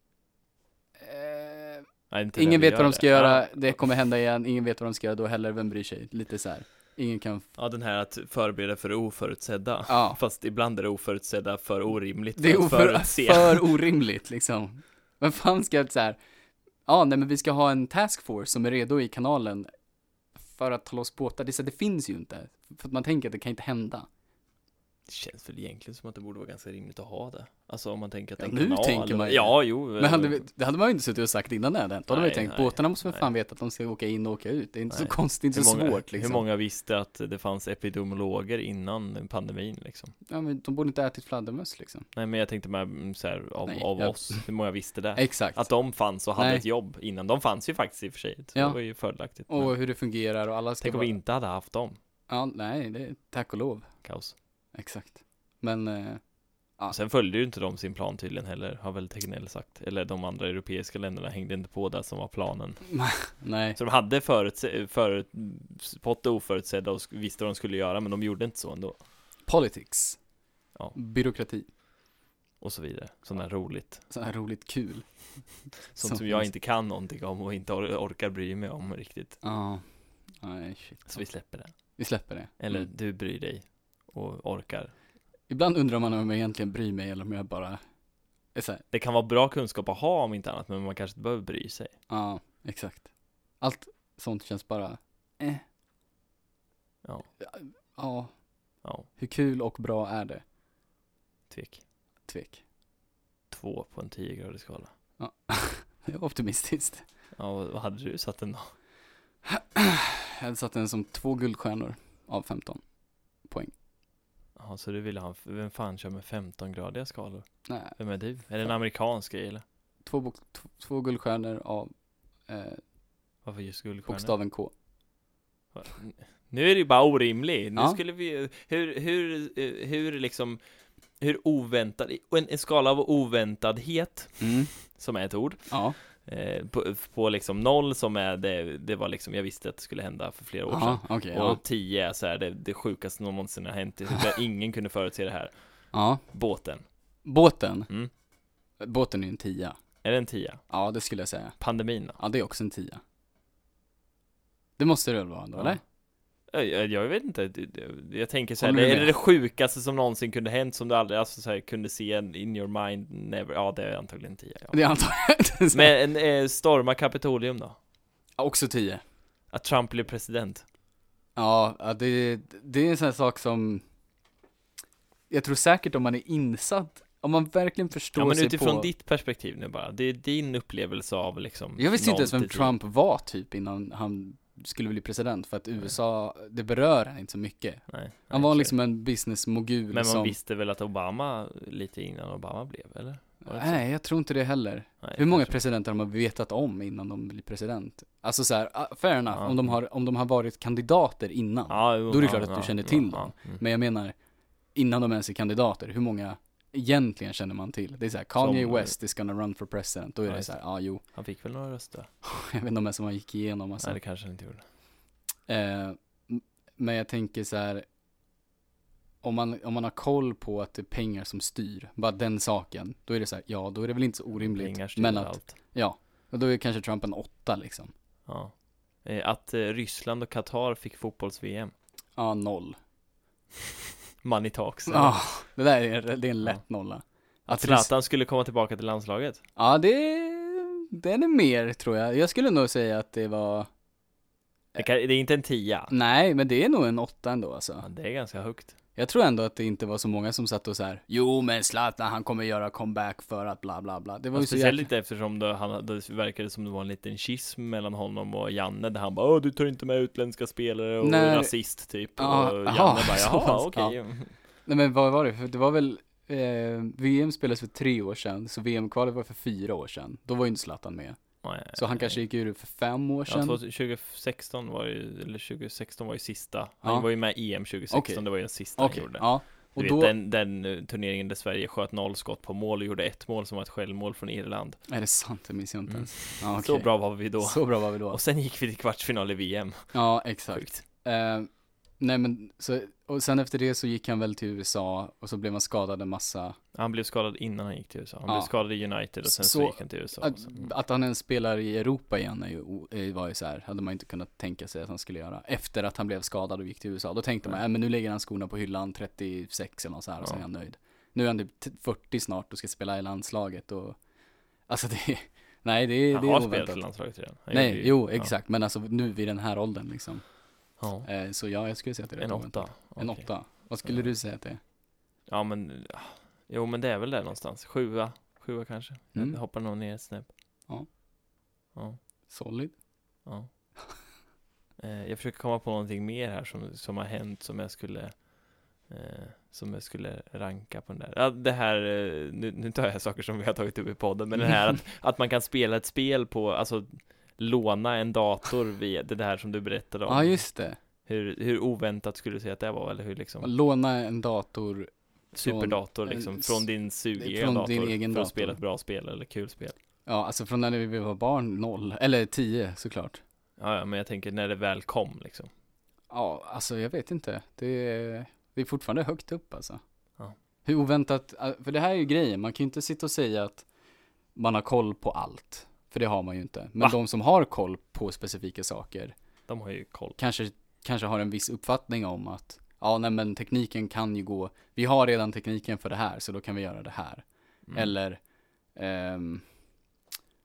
[SPEAKER 2] Eh,
[SPEAKER 1] Nej, inte när
[SPEAKER 2] ingen
[SPEAKER 1] vi
[SPEAKER 2] vet vad
[SPEAKER 1] gör
[SPEAKER 2] de ska
[SPEAKER 1] det.
[SPEAKER 2] göra,
[SPEAKER 1] Ja.
[SPEAKER 2] det kommer hända igen, ingen vet vad de ska göra då heller, vem bryr sig? Lite så här. Ingen kan,
[SPEAKER 1] Ja, den här att förbereda för det oförutsedda
[SPEAKER 2] ja.
[SPEAKER 1] Fast ibland är det oförutsedda för orimligt
[SPEAKER 2] Det är
[SPEAKER 1] för att
[SPEAKER 2] oför,
[SPEAKER 1] förutse.
[SPEAKER 2] för orimligt liksom. Men fan ska jag så här. Ja, nej men vi ska ha en taskforce som är redo i kanalen för att ta loss båtar. Det, är så här, det finns ju inte. För att man tänker att det kan inte hända.
[SPEAKER 1] Det känns väl egentligen som att det borde vara ganska rimligt att ha det Alltså om man tänker att
[SPEAKER 2] Ja,
[SPEAKER 1] en
[SPEAKER 2] nu
[SPEAKER 1] kanal
[SPEAKER 2] tänker man ju
[SPEAKER 1] Ja, jo
[SPEAKER 2] Men hade vi, det hade man ju inte suttit och sagt innan det hade hänt. Då hade man ju
[SPEAKER 1] Nej,
[SPEAKER 2] tänkt,
[SPEAKER 1] nej,
[SPEAKER 2] båtarna måste för
[SPEAKER 1] nej.
[SPEAKER 2] fan veta att de ska åka in och åka ut. Det är inte
[SPEAKER 1] Nej.
[SPEAKER 2] så konstigt, inte så svårt liksom.
[SPEAKER 1] Hur många visste att det fanns epidemiologer innan pandemin liksom?
[SPEAKER 2] Ja, men de borde inte ha ätit fladdermöss liksom.
[SPEAKER 1] Nej men jag tänkte med mm, så här, av,
[SPEAKER 2] Nej,
[SPEAKER 1] av
[SPEAKER 2] jag-
[SPEAKER 1] oss, hur många visste det?
[SPEAKER 2] Exakt.
[SPEAKER 1] Att de fanns och hade
[SPEAKER 2] Nej.
[SPEAKER 1] ett jobb innan, de fanns ju faktiskt i och för sig, så
[SPEAKER 2] Ja.
[SPEAKER 1] det var ju fördelaktigt men
[SPEAKER 2] och hur det fungerar och alla ska
[SPEAKER 1] Tänk om vi inte hade haft dem,
[SPEAKER 2] Ja, nej, det är tack och lov.
[SPEAKER 1] kaos
[SPEAKER 2] Exakt. Men, eh, Ja.
[SPEAKER 1] Sen följde ju inte de sin plan tydligen heller, har väl Tegnell sagt Eller de andra europeiska länderna hängde inte på det som var planen
[SPEAKER 2] nej.
[SPEAKER 1] Så de hade förutse- förutspått det oförutsedda och sk- visste vad de skulle göra men de gjorde inte så ändå
[SPEAKER 2] Politics.
[SPEAKER 1] Ja.
[SPEAKER 2] Byråkrati.
[SPEAKER 1] och så vidare, sådant där roligt
[SPEAKER 2] Sådär här roligt kul.
[SPEAKER 1] Sånt som jag inte kan någonting om och inte or- orkar bry mig om riktigt
[SPEAKER 2] Ja. Nej, shit.
[SPEAKER 1] Så vi släpper det
[SPEAKER 2] Vi släpper det.
[SPEAKER 1] Eller
[SPEAKER 2] Mm.
[SPEAKER 1] du bryr dig och orkar
[SPEAKER 2] Ibland undrar man om jag egentligen bryr mig eller om jag bara är så här,
[SPEAKER 1] Det kan vara bra kunskap att ha om inte annat men man kanske inte behöver bry sig
[SPEAKER 2] Ja, exakt. Allt sånt känns bara, eh.
[SPEAKER 1] Ja.
[SPEAKER 2] Ja,
[SPEAKER 1] Ja,
[SPEAKER 2] hur kul och bra är det?
[SPEAKER 1] tvek
[SPEAKER 2] Tvek.
[SPEAKER 1] Två på en 10-gradig skala
[SPEAKER 2] Ja. Det var optimistiskt.
[SPEAKER 1] Ja, vad vad hade du satt den då?
[SPEAKER 2] Jag hade satt den som två guldstjärnor av 15.
[SPEAKER 1] Ja, så du ville ha, vem fan kör med 15-gradiga skalor?
[SPEAKER 2] Nej,
[SPEAKER 1] Vem är du? Är det en amerikansk grej eller?
[SPEAKER 2] två, bok, t- två guldstjärnor av eh,
[SPEAKER 1] Varför just guldstjärnor?
[SPEAKER 2] bokstaven K.
[SPEAKER 1] Va- Nu är det ju bara orimligt. Nu
[SPEAKER 2] Ja.
[SPEAKER 1] skulle vi hur, hur, eh, hur liksom, hur oväntad, och en, en skala av oväntadhet,
[SPEAKER 2] Mm.
[SPEAKER 1] som är ett ord,
[SPEAKER 2] Ja,
[SPEAKER 1] eh, på, på liksom noll som är det, det var liksom, jag visste att det skulle hända för flera år sedan.
[SPEAKER 2] ja okej. ja.
[SPEAKER 1] Och 10 är så här, det, det sjukaste någonsin har hänt, där ingen kunde förutse det här.
[SPEAKER 2] ja.
[SPEAKER 1] Båten,
[SPEAKER 2] Båten.
[SPEAKER 1] Mm.
[SPEAKER 2] Båten är en tia.
[SPEAKER 1] är det en 10?
[SPEAKER 2] Ja, det skulle jag säga.
[SPEAKER 1] Pandemin då?
[SPEAKER 2] Ja, det är också en tia. Det måste det väl vara ändå,
[SPEAKER 1] Ja.
[SPEAKER 2] eller?
[SPEAKER 1] Jag, jag- jag vet inte, Det- det- jag tänker så här,
[SPEAKER 2] Håller du
[SPEAKER 1] det är
[SPEAKER 2] med?
[SPEAKER 1] det sjukaste som någonsin kunde hänt som du aldrig, alltså så här, kunde se en in your mind, never, ja det är antagligen 10 ja.
[SPEAKER 2] Det är antagligen.
[SPEAKER 1] Men eh, storma Kapitolium då?
[SPEAKER 2] Ja, också tio.
[SPEAKER 1] Att Trump blir president?
[SPEAKER 2] Ja, ja, det, det är en sån här sak som jag tror säkert om man är insatt, om man verkligen förstår
[SPEAKER 1] Ja men
[SPEAKER 2] sig
[SPEAKER 1] utifrån
[SPEAKER 2] på...
[SPEAKER 1] ditt perspektiv nu bara, det är din upplevelse av liksom
[SPEAKER 2] jag visste inte
[SPEAKER 1] noll
[SPEAKER 2] ens vem
[SPEAKER 1] till tio.
[SPEAKER 2] Trump var typ innan han skulle bli president för att USA, det berör han inte så mycket.
[SPEAKER 1] Nej, nej,
[SPEAKER 2] Han var
[SPEAKER 1] okej.
[SPEAKER 2] liksom en businessmogul
[SPEAKER 1] Men man
[SPEAKER 2] som...
[SPEAKER 1] visste väl att Obama, lite innan Obama blev eller? var det så?
[SPEAKER 2] Nej, jag tror inte det heller.
[SPEAKER 1] Nej,
[SPEAKER 2] Hur många
[SPEAKER 1] kanske.
[SPEAKER 2] presidenter har man vetat om innan de blir president? Alltså så här, ah, fair enough,
[SPEAKER 1] Ja.
[SPEAKER 2] om, de har, om de har varit kandidater innan.
[SPEAKER 1] ja, jo,
[SPEAKER 2] då är det
[SPEAKER 1] ja,
[SPEAKER 2] klart att du
[SPEAKER 1] ja,
[SPEAKER 2] känner
[SPEAKER 1] ja,
[SPEAKER 2] till
[SPEAKER 1] ja, mm.
[SPEAKER 2] Men jag menar, innan de ens är kandidater, hur många egentligen känner man till? Det är såhär, Kanye
[SPEAKER 1] Som-
[SPEAKER 2] West is gonna run for president, då är
[SPEAKER 1] Ja,
[SPEAKER 2] det
[SPEAKER 1] just
[SPEAKER 2] såhär, ja ah, jo,
[SPEAKER 1] Han fick väl några röster?
[SPEAKER 2] jag vet inte om ens man gick igenom alltså.
[SPEAKER 1] Nej det kanske han inte gjorde
[SPEAKER 2] eh, m- men jag tänker så här. Om man, om man har koll på att det är pengar som styr, bara den saken, då är det så här, ja då är det väl inte så
[SPEAKER 1] Pengar
[SPEAKER 2] orimligt.
[SPEAKER 1] styr
[SPEAKER 2] Men att,
[SPEAKER 1] allt.
[SPEAKER 2] ja, och då är kanske Trump en åtta liksom.
[SPEAKER 1] Ja. Eh, Att eh, Ryssland och Qatar fick fotbolls-VM.
[SPEAKER 2] Ja, noll.
[SPEAKER 1] Money talks.
[SPEAKER 2] Ja, det där är, det är en lätt nolla.
[SPEAKER 1] Att
[SPEAKER 2] Ah, Att
[SPEAKER 1] Zlatan skulle komma tillbaka till landslaget.
[SPEAKER 2] Ja, det, den är mer tror jag. Jag skulle nog säga att det var,
[SPEAKER 1] Det, kan, det är inte en tia.
[SPEAKER 2] Ah. nej men det är nog en åtta ändå alltså.
[SPEAKER 1] Ja, det är ganska högt.
[SPEAKER 2] Jag tror ändå att det inte var så många som satt och så här. Jo men Zlatan han kommer göra comeback för att bla bla bla. Det var
[SPEAKER 1] Ja,
[SPEAKER 2] ju så
[SPEAKER 1] speciellt
[SPEAKER 2] jäkla...
[SPEAKER 1] lite eftersom det, han, det verkade som det var en liten schism mellan honom och Janne där han bara Åh, du tar inte med utländska spelare och
[SPEAKER 2] Nej.
[SPEAKER 1] är rasist typ
[SPEAKER 2] Ja,
[SPEAKER 1] och Janne
[SPEAKER 2] Ah, aha,
[SPEAKER 1] bara
[SPEAKER 2] så
[SPEAKER 1] jaha
[SPEAKER 2] pass,
[SPEAKER 1] okej
[SPEAKER 2] Nej men vad var det? För det var väl eh, VM spelades för tre år sedan, så VM-kvalet var för fyra år sedan. Då var ju inte Zlatan med.
[SPEAKER 1] Nej.
[SPEAKER 2] Så han kanske gick ur för fem år
[SPEAKER 1] Eh, Ja,
[SPEAKER 2] sedan.
[SPEAKER 1] 2016 var ju, eller 2016 var ju sista Han
[SPEAKER 2] Ja.
[SPEAKER 1] var ju med i EM 2016,
[SPEAKER 2] Okej.
[SPEAKER 1] det var ju den sista
[SPEAKER 2] Okej,
[SPEAKER 1] han gjorde
[SPEAKER 2] ja.
[SPEAKER 1] Du
[SPEAKER 2] Och
[SPEAKER 1] vet
[SPEAKER 2] då,
[SPEAKER 1] den, den eh, turneringen där Sverige sköt noll skott på mål och gjorde ett mål som var ett självmål från Irland
[SPEAKER 2] är det sant? Det minns jag inte
[SPEAKER 1] Mm.
[SPEAKER 2] ens. Ja,
[SPEAKER 1] Så
[SPEAKER 2] okej.
[SPEAKER 1] bra var vi då
[SPEAKER 2] Så bra var vi då.
[SPEAKER 1] Och sen gick vi till kvartsfinal i VM
[SPEAKER 2] Ja, exakt.
[SPEAKER 1] Sjukt
[SPEAKER 2] Eh, nej men, så, och sen efter det så gick han väl till USA och så blev han skadad en massa.
[SPEAKER 1] Han blev skadad innan han gick till USA Han
[SPEAKER 2] Ja.
[SPEAKER 1] blev skadad i United och sen så,
[SPEAKER 2] Så-
[SPEAKER 1] gick han till USA och
[SPEAKER 2] Att,
[SPEAKER 1] sen, mm.
[SPEAKER 2] att han ens spelar i Europa igen är ju, o- eh, var ju så här, hade man inte kunnat tänka sig att han skulle göra. Efter att han blev skadad och gick till USA, då tänkte man,
[SPEAKER 1] Nej.
[SPEAKER 2] äh, men nu lägger han skorna på hyllan 36 eller något så här och så
[SPEAKER 1] Ja.
[SPEAKER 2] är han nöjd. Nu är han typ t- 40 snart och ska spela i landslaget och, alltså det, är- nej det, är-
[SPEAKER 1] Han
[SPEAKER 2] det är
[SPEAKER 1] har spelat
[SPEAKER 2] oväntat.
[SPEAKER 1] för landslaget redan Han gjorde
[SPEAKER 2] Nej,
[SPEAKER 1] ju-
[SPEAKER 2] jo
[SPEAKER 1] ja.
[SPEAKER 2] exakt, men alltså nu vid den här åldern liksom.
[SPEAKER 1] ja.
[SPEAKER 2] Eh, så ja, jag skulle säga att det är rätt
[SPEAKER 1] En
[SPEAKER 2] oväntat.
[SPEAKER 1] åtta
[SPEAKER 2] En
[SPEAKER 1] Okej.
[SPEAKER 2] åtta. Vad skulle
[SPEAKER 1] Ja.
[SPEAKER 2] du säga att det är?
[SPEAKER 1] Ja men ah, Jo men det är väl där någonstans Sjua Sjua kanske
[SPEAKER 2] Mm.
[SPEAKER 1] Jag hoppar nog ner ett snäpp
[SPEAKER 2] Ja.
[SPEAKER 1] Ja
[SPEAKER 2] Solid?
[SPEAKER 1] Ja. Eh, jag försöker komma på någonting mer här som, som har hänt som jag skulle eh, som jag skulle ranka på den där. Ja, det här, eh, nu, nu tar jag saker som vi har tagit upp i podden, men det här att, att man kan spela ett spel på, alltså låna en dator via det där som du berättade om.
[SPEAKER 2] Ja, just det.
[SPEAKER 1] hur, hur oväntat skulle du säga att det var, eller hur liksom
[SPEAKER 2] Låna en dator.
[SPEAKER 1] superdator
[SPEAKER 2] en
[SPEAKER 1] liksom,
[SPEAKER 2] eh, s-
[SPEAKER 1] från din sugiga
[SPEAKER 2] från
[SPEAKER 1] dator,
[SPEAKER 2] din egen
[SPEAKER 1] för att
[SPEAKER 2] dator.
[SPEAKER 1] spela ett bra spel eller kul spel.
[SPEAKER 2] Ja, alltså från när vi var barn, noll. Eller tio såklart.
[SPEAKER 1] Ja, ja, men jag tänker när det väl kom liksom.
[SPEAKER 2] Ja, alltså jag vet inte. Det är, det är fortfarande högt upp alltså.
[SPEAKER 1] Ja.
[SPEAKER 2] Hur oväntat, för det här är ju grejen, man kan ju inte sitta och säga att man har koll på allt. För det har man ju inte. Men
[SPEAKER 1] Va?
[SPEAKER 2] de som har koll på specifika saker
[SPEAKER 1] De har ju koll.
[SPEAKER 2] kanske, kanske har en viss uppfattning om att ja, nej men tekniken kan ju gå, vi har redan tekniken för det här så då kan vi göra det här.
[SPEAKER 1] Mm.
[SPEAKER 2] Eller ehm,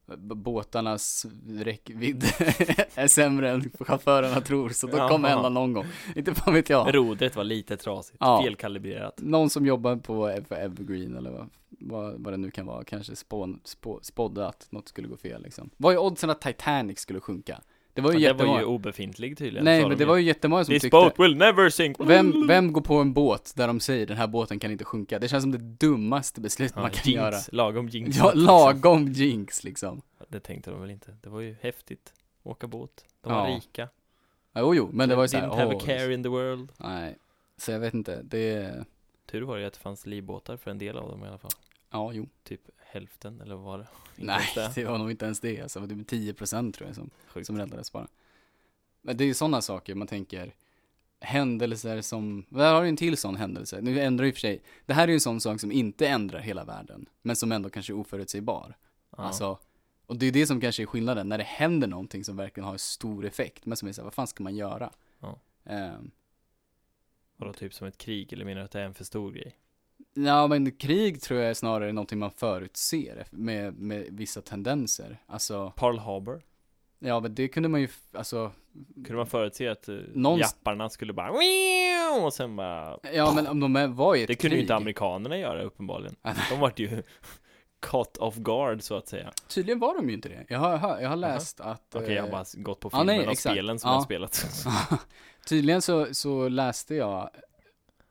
[SPEAKER 2] b- båtarnas räckvidd är sämre än chaufförerna tror så då
[SPEAKER 1] Ja.
[SPEAKER 2] kommer hända någon gång. Inte fan vet jag.
[SPEAKER 1] Rodret var lite trasigt,
[SPEAKER 2] Ja.
[SPEAKER 1] felkalibrerat.
[SPEAKER 2] Någon som jobbar på Ev- Evergreen eller vad, vad, vad det nu kan vara, kanske spån, spå, spådde att något skulle gå fel liksom. Vad är oddsen att Titanic skulle sjunka? Det var ju
[SPEAKER 1] Det var
[SPEAKER 2] jättemånga.
[SPEAKER 1] ju obefintlig tydligen.
[SPEAKER 2] Nej
[SPEAKER 1] sa
[SPEAKER 2] men
[SPEAKER 1] de
[SPEAKER 2] det var ju jättemånga som
[SPEAKER 1] This
[SPEAKER 2] tyckte
[SPEAKER 1] boat will never sink.
[SPEAKER 2] Vem, vem går på en båt där de säger den här båten kan inte sjunka? Det känns som det dummaste beslut
[SPEAKER 1] ja,
[SPEAKER 2] man kan
[SPEAKER 1] jinx,
[SPEAKER 2] göra.
[SPEAKER 1] Lagom jinx. liksom.
[SPEAKER 2] Ja, lagom jinx liksom.
[SPEAKER 1] Det tänkte de väl inte. Det var ju häftigt. Åka båt. De var
[SPEAKER 2] Ja.
[SPEAKER 1] rika.
[SPEAKER 2] Ja, Jo, jo, men det var ju såhär,
[SPEAKER 1] Didn't have a
[SPEAKER 2] åh,
[SPEAKER 1] care in the world.
[SPEAKER 2] nej. Så jag vet inte, det,
[SPEAKER 1] Tur var det ju att det fanns livbåtar för en del av dem i alla fall.
[SPEAKER 2] ja jo.
[SPEAKER 1] Typ hälften eller vad var det? Inte
[SPEAKER 2] Nej,
[SPEAKER 1] ens det.
[SPEAKER 2] det var nog inte ens det. Alltså, det var 10% tror jag som,
[SPEAKER 1] Sjukt.
[SPEAKER 2] som räddades bara. Men det är ju sådana saker man tänker, händelser som, där har du en till sån händelse. Nu ändrar ju för sig, det här är ju en sån sak som inte ändrar hela världen, men som ändå kanske är oförutsägbar.
[SPEAKER 1] Ja.
[SPEAKER 2] Alltså, och det är det som kanske är skillnaden, när det händer någonting som verkligen har stor effekt, men som är såhär, vad fan ska man göra?
[SPEAKER 1] Ja.
[SPEAKER 2] Ehm,
[SPEAKER 1] Vadå, typ som ett krig? Eller menar du att det är en för stor grej?
[SPEAKER 2] ja, men krig tror jag är snarare någonting man förutser med, med vissa tendenser. Alltså,
[SPEAKER 1] Pearl Harbor?
[SPEAKER 2] ja men det kunde man ju, f- alltså,
[SPEAKER 1] Kunde man förutse att eh,
[SPEAKER 2] Någonst-
[SPEAKER 1] japparna skulle bara "Meow", och sen bara
[SPEAKER 2] ja men om de är, var i ett
[SPEAKER 1] Det kunde
[SPEAKER 2] krig.
[SPEAKER 1] ju inte amerikanerna göra uppenbarligen.
[SPEAKER 2] Ah, nej.
[SPEAKER 1] De vart ju caught off guard så att säga.
[SPEAKER 2] Tydligen var de ju inte det. Jag har, jag har- jag har
[SPEAKER 1] Jaha.
[SPEAKER 2] läst att...
[SPEAKER 1] Okej,
[SPEAKER 2] eh,
[SPEAKER 1] jag har bara gått på
[SPEAKER 2] ja,
[SPEAKER 1] filmen
[SPEAKER 2] nej,
[SPEAKER 1] och
[SPEAKER 2] exakt.
[SPEAKER 1] spelen som
[SPEAKER 2] Ja.
[SPEAKER 1] jag har spelat.
[SPEAKER 2] tydligen så, så läste jag,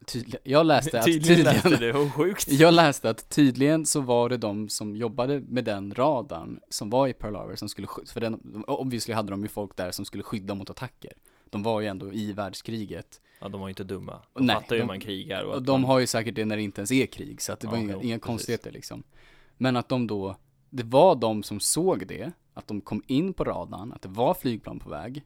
[SPEAKER 2] tydligen, jag läste att
[SPEAKER 1] Tydligen läste du, vad sjukt.
[SPEAKER 2] Jag läste att tydligen så var det de som jobbade med den radarn som var i Pearl Harbor som skulle skydda, för den, obviously hade de ju folk där som skulle skydda mot attacker. De var ju ändå i världskriget.
[SPEAKER 1] Ja, de var ju inte dumma. De
[SPEAKER 2] Nej,
[SPEAKER 1] fattar ju hur
[SPEAKER 2] de-
[SPEAKER 1] man krigar och
[SPEAKER 2] Och
[SPEAKER 1] att
[SPEAKER 2] de
[SPEAKER 1] man,
[SPEAKER 2] har ju säkert det när det inte ens är krig, så att det var
[SPEAKER 1] Ja,
[SPEAKER 2] inga,
[SPEAKER 1] jo,
[SPEAKER 2] inga
[SPEAKER 1] precis.
[SPEAKER 2] konstigheter liksom. Men att de då, det var de som såg det, att de kom in på radarn, att det var flygplan på väg,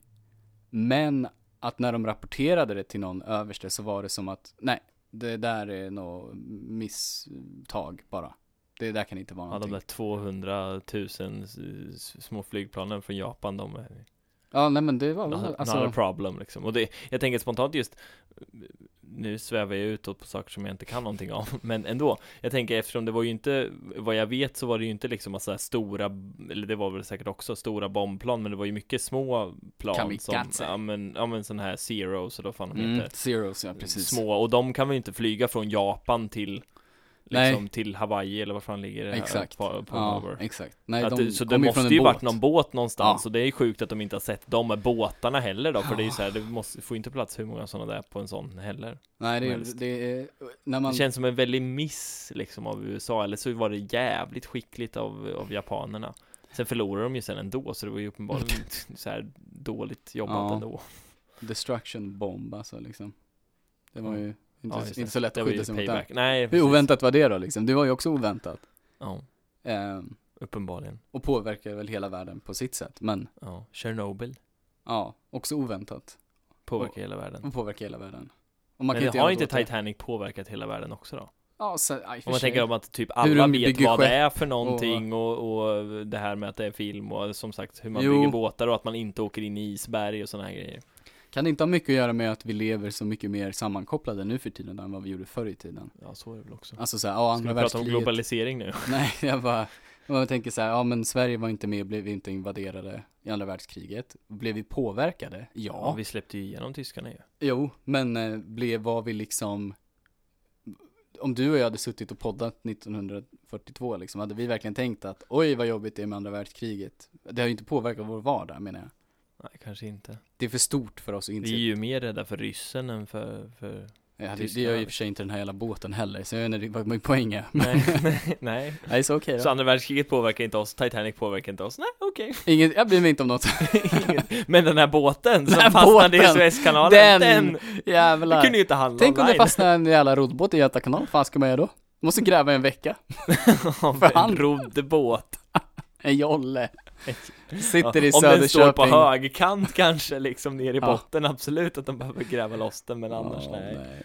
[SPEAKER 2] men att när de rapporterade det till någon överste så var det som att, nej, det där är något misstag bara. Det där kan inte vara
[SPEAKER 1] ja, de
[SPEAKER 2] någonting.
[SPEAKER 1] där 200 000 s- s- små flygplanen från Japan, de är
[SPEAKER 2] Ja, nej men det var
[SPEAKER 1] Not,
[SPEAKER 2] väl,
[SPEAKER 1] not a
[SPEAKER 2] alltså,
[SPEAKER 1] problem liksom. Och det, jag tänker spontant just, nu svävar jag utåt på saker som jag inte kan någonting om, men ändå. Jag tänker eftersom det var ju inte, vad jag vet så var det ju inte liksom massa stora, eller det var väl säkert också stora bombplan, men det var ju mycket små plan
[SPEAKER 2] Kamikaze.
[SPEAKER 1] som, ja men, ja men sån här zeros och då fan de
[SPEAKER 2] mm,
[SPEAKER 1] heter.
[SPEAKER 2] zeros ja, precis.
[SPEAKER 1] Små, och de kan väl inte flyga från Japan till,
[SPEAKER 2] Nej.
[SPEAKER 1] liksom till Hawaii eller var fan ligger det här?
[SPEAKER 2] Exakt.
[SPEAKER 1] På, på
[SPEAKER 2] ja,
[SPEAKER 1] över.
[SPEAKER 2] exakt. Nej,
[SPEAKER 1] att,
[SPEAKER 2] de
[SPEAKER 1] det- så det
[SPEAKER 2] kom ju
[SPEAKER 1] måste
[SPEAKER 2] från en
[SPEAKER 1] ju
[SPEAKER 2] båt.
[SPEAKER 1] varit någon båt någonstans
[SPEAKER 2] Ja.
[SPEAKER 1] och det är sjukt att de inte har sett de båtarna heller då, för det är ju
[SPEAKER 2] Ja.
[SPEAKER 1] så här, det måste, får ju inte plats hur många sådana där på en sån heller.
[SPEAKER 2] Nej, det,
[SPEAKER 1] helst.
[SPEAKER 2] är- det är, när man,
[SPEAKER 1] Det känns som en väldig miss liksom av USA, eller så var det jävligt skickligt av, av japanerna. Sen förlorade de ju sen ändå, så det var ju uppenbarligen så här dåligt jobbat
[SPEAKER 2] Mm. Ja.
[SPEAKER 1] ändå.
[SPEAKER 2] destruction bomb alltså liksom. Det var
[SPEAKER 1] Mm.
[SPEAKER 2] ju inte,
[SPEAKER 1] Ja, just
[SPEAKER 2] inte så lätt
[SPEAKER 1] Det
[SPEAKER 2] att
[SPEAKER 1] var
[SPEAKER 2] skydda
[SPEAKER 1] ju
[SPEAKER 2] sig mot det.
[SPEAKER 1] payback. Nej,
[SPEAKER 2] Hur
[SPEAKER 1] precis.
[SPEAKER 2] oväntat var det då liksom? Det var ju också oväntat.
[SPEAKER 1] Ja,
[SPEAKER 2] Ehm,
[SPEAKER 1] uppenbarligen.
[SPEAKER 2] och påverkar väl hela världen på sitt sätt. Men
[SPEAKER 1] Ja, Chernobyl
[SPEAKER 2] ja, också oväntat.
[SPEAKER 1] påverkar
[SPEAKER 2] Och-
[SPEAKER 1] hela världen.
[SPEAKER 2] Och påverkar hela världen. Och man
[SPEAKER 1] Men
[SPEAKER 2] kan
[SPEAKER 1] det har
[SPEAKER 2] göra
[SPEAKER 1] inte
[SPEAKER 2] något åt det.
[SPEAKER 1] Titanic påverkat hela världen också då?
[SPEAKER 2] Ja, så, aj, för
[SPEAKER 1] Om man
[SPEAKER 2] sig.
[SPEAKER 1] tänker om att typ
[SPEAKER 2] Hur
[SPEAKER 1] alla
[SPEAKER 2] de
[SPEAKER 1] vet
[SPEAKER 2] bygger
[SPEAKER 1] vad det
[SPEAKER 2] skepp
[SPEAKER 1] är för någonting och... Och, det här med att det är film och som sagt hur man
[SPEAKER 2] Jo.
[SPEAKER 1] bygger båtar och att man inte åker in i isberg och sådana här grejer.
[SPEAKER 2] Kan det inte ha mycket att göra med att vi lever så mycket mer sammankopplade nu för tiden än vad vi gjorde förr i tiden?
[SPEAKER 1] Ja, så är det väl också.
[SPEAKER 2] Alltså såhär, ja
[SPEAKER 1] Ska
[SPEAKER 2] andra
[SPEAKER 1] vi prata om
[SPEAKER 2] världskriget.
[SPEAKER 1] globalisering nu?
[SPEAKER 2] Nej, jag bara, man tänker såhär, ja men Sverige var inte med, blev inte invaderade i andra världskriget. Blev vi påverkade? Ja.
[SPEAKER 1] Ja, vi släppte ju igenom tyskarna ju.
[SPEAKER 2] Jo, men eh, blev, var vi liksom, om du och jag hade suttit och poddat 1942 liksom, hade vi verkligen tänkt att oj vad jobbigt det är med andra världskriget? Det har ju inte påverkat vår vardag menar jag.
[SPEAKER 1] Nej, kanske inte.
[SPEAKER 2] Det är för stort för oss att inse.
[SPEAKER 1] Vi är ju mer rädda för ryssen än för... för...
[SPEAKER 2] Ja, det, det
[SPEAKER 1] Tyskarna.
[SPEAKER 2] gör ju i och för sig inte den här jävla båten heller, så jag vet inte vad min poäng är.
[SPEAKER 1] Nej, nej, nej.
[SPEAKER 2] Nej, så okej
[SPEAKER 1] Så
[SPEAKER 2] då.
[SPEAKER 1] andra världskriget påverkar inte oss, Titanic påverkar inte oss. Nej, okej.
[SPEAKER 2] Inget, jag bryr mig inte om något.
[SPEAKER 1] Men den här båten som
[SPEAKER 2] Den här
[SPEAKER 1] fastnade
[SPEAKER 2] båten,
[SPEAKER 1] i Suezkanalen, den, den
[SPEAKER 2] Jävlar.
[SPEAKER 1] kunde ju inte handla
[SPEAKER 2] Tänk om det
[SPEAKER 1] online.
[SPEAKER 2] fastnar en jävla roddbåt i Göta kanal, vad fan ska man göra då? Måste gräva i en vecka.
[SPEAKER 1] Om
[SPEAKER 2] för
[SPEAKER 1] en
[SPEAKER 2] hand.
[SPEAKER 1] rodd båt.
[SPEAKER 2] En jolle.
[SPEAKER 1] Ja,
[SPEAKER 2] Sitter i
[SPEAKER 1] Om den står på
[SPEAKER 2] Söderköping.
[SPEAKER 1] högkant kanske, liksom ner i
[SPEAKER 2] Ja.
[SPEAKER 1] botten, absolut att de behöver gräva loss den, men annars
[SPEAKER 2] Ja,
[SPEAKER 1] nej.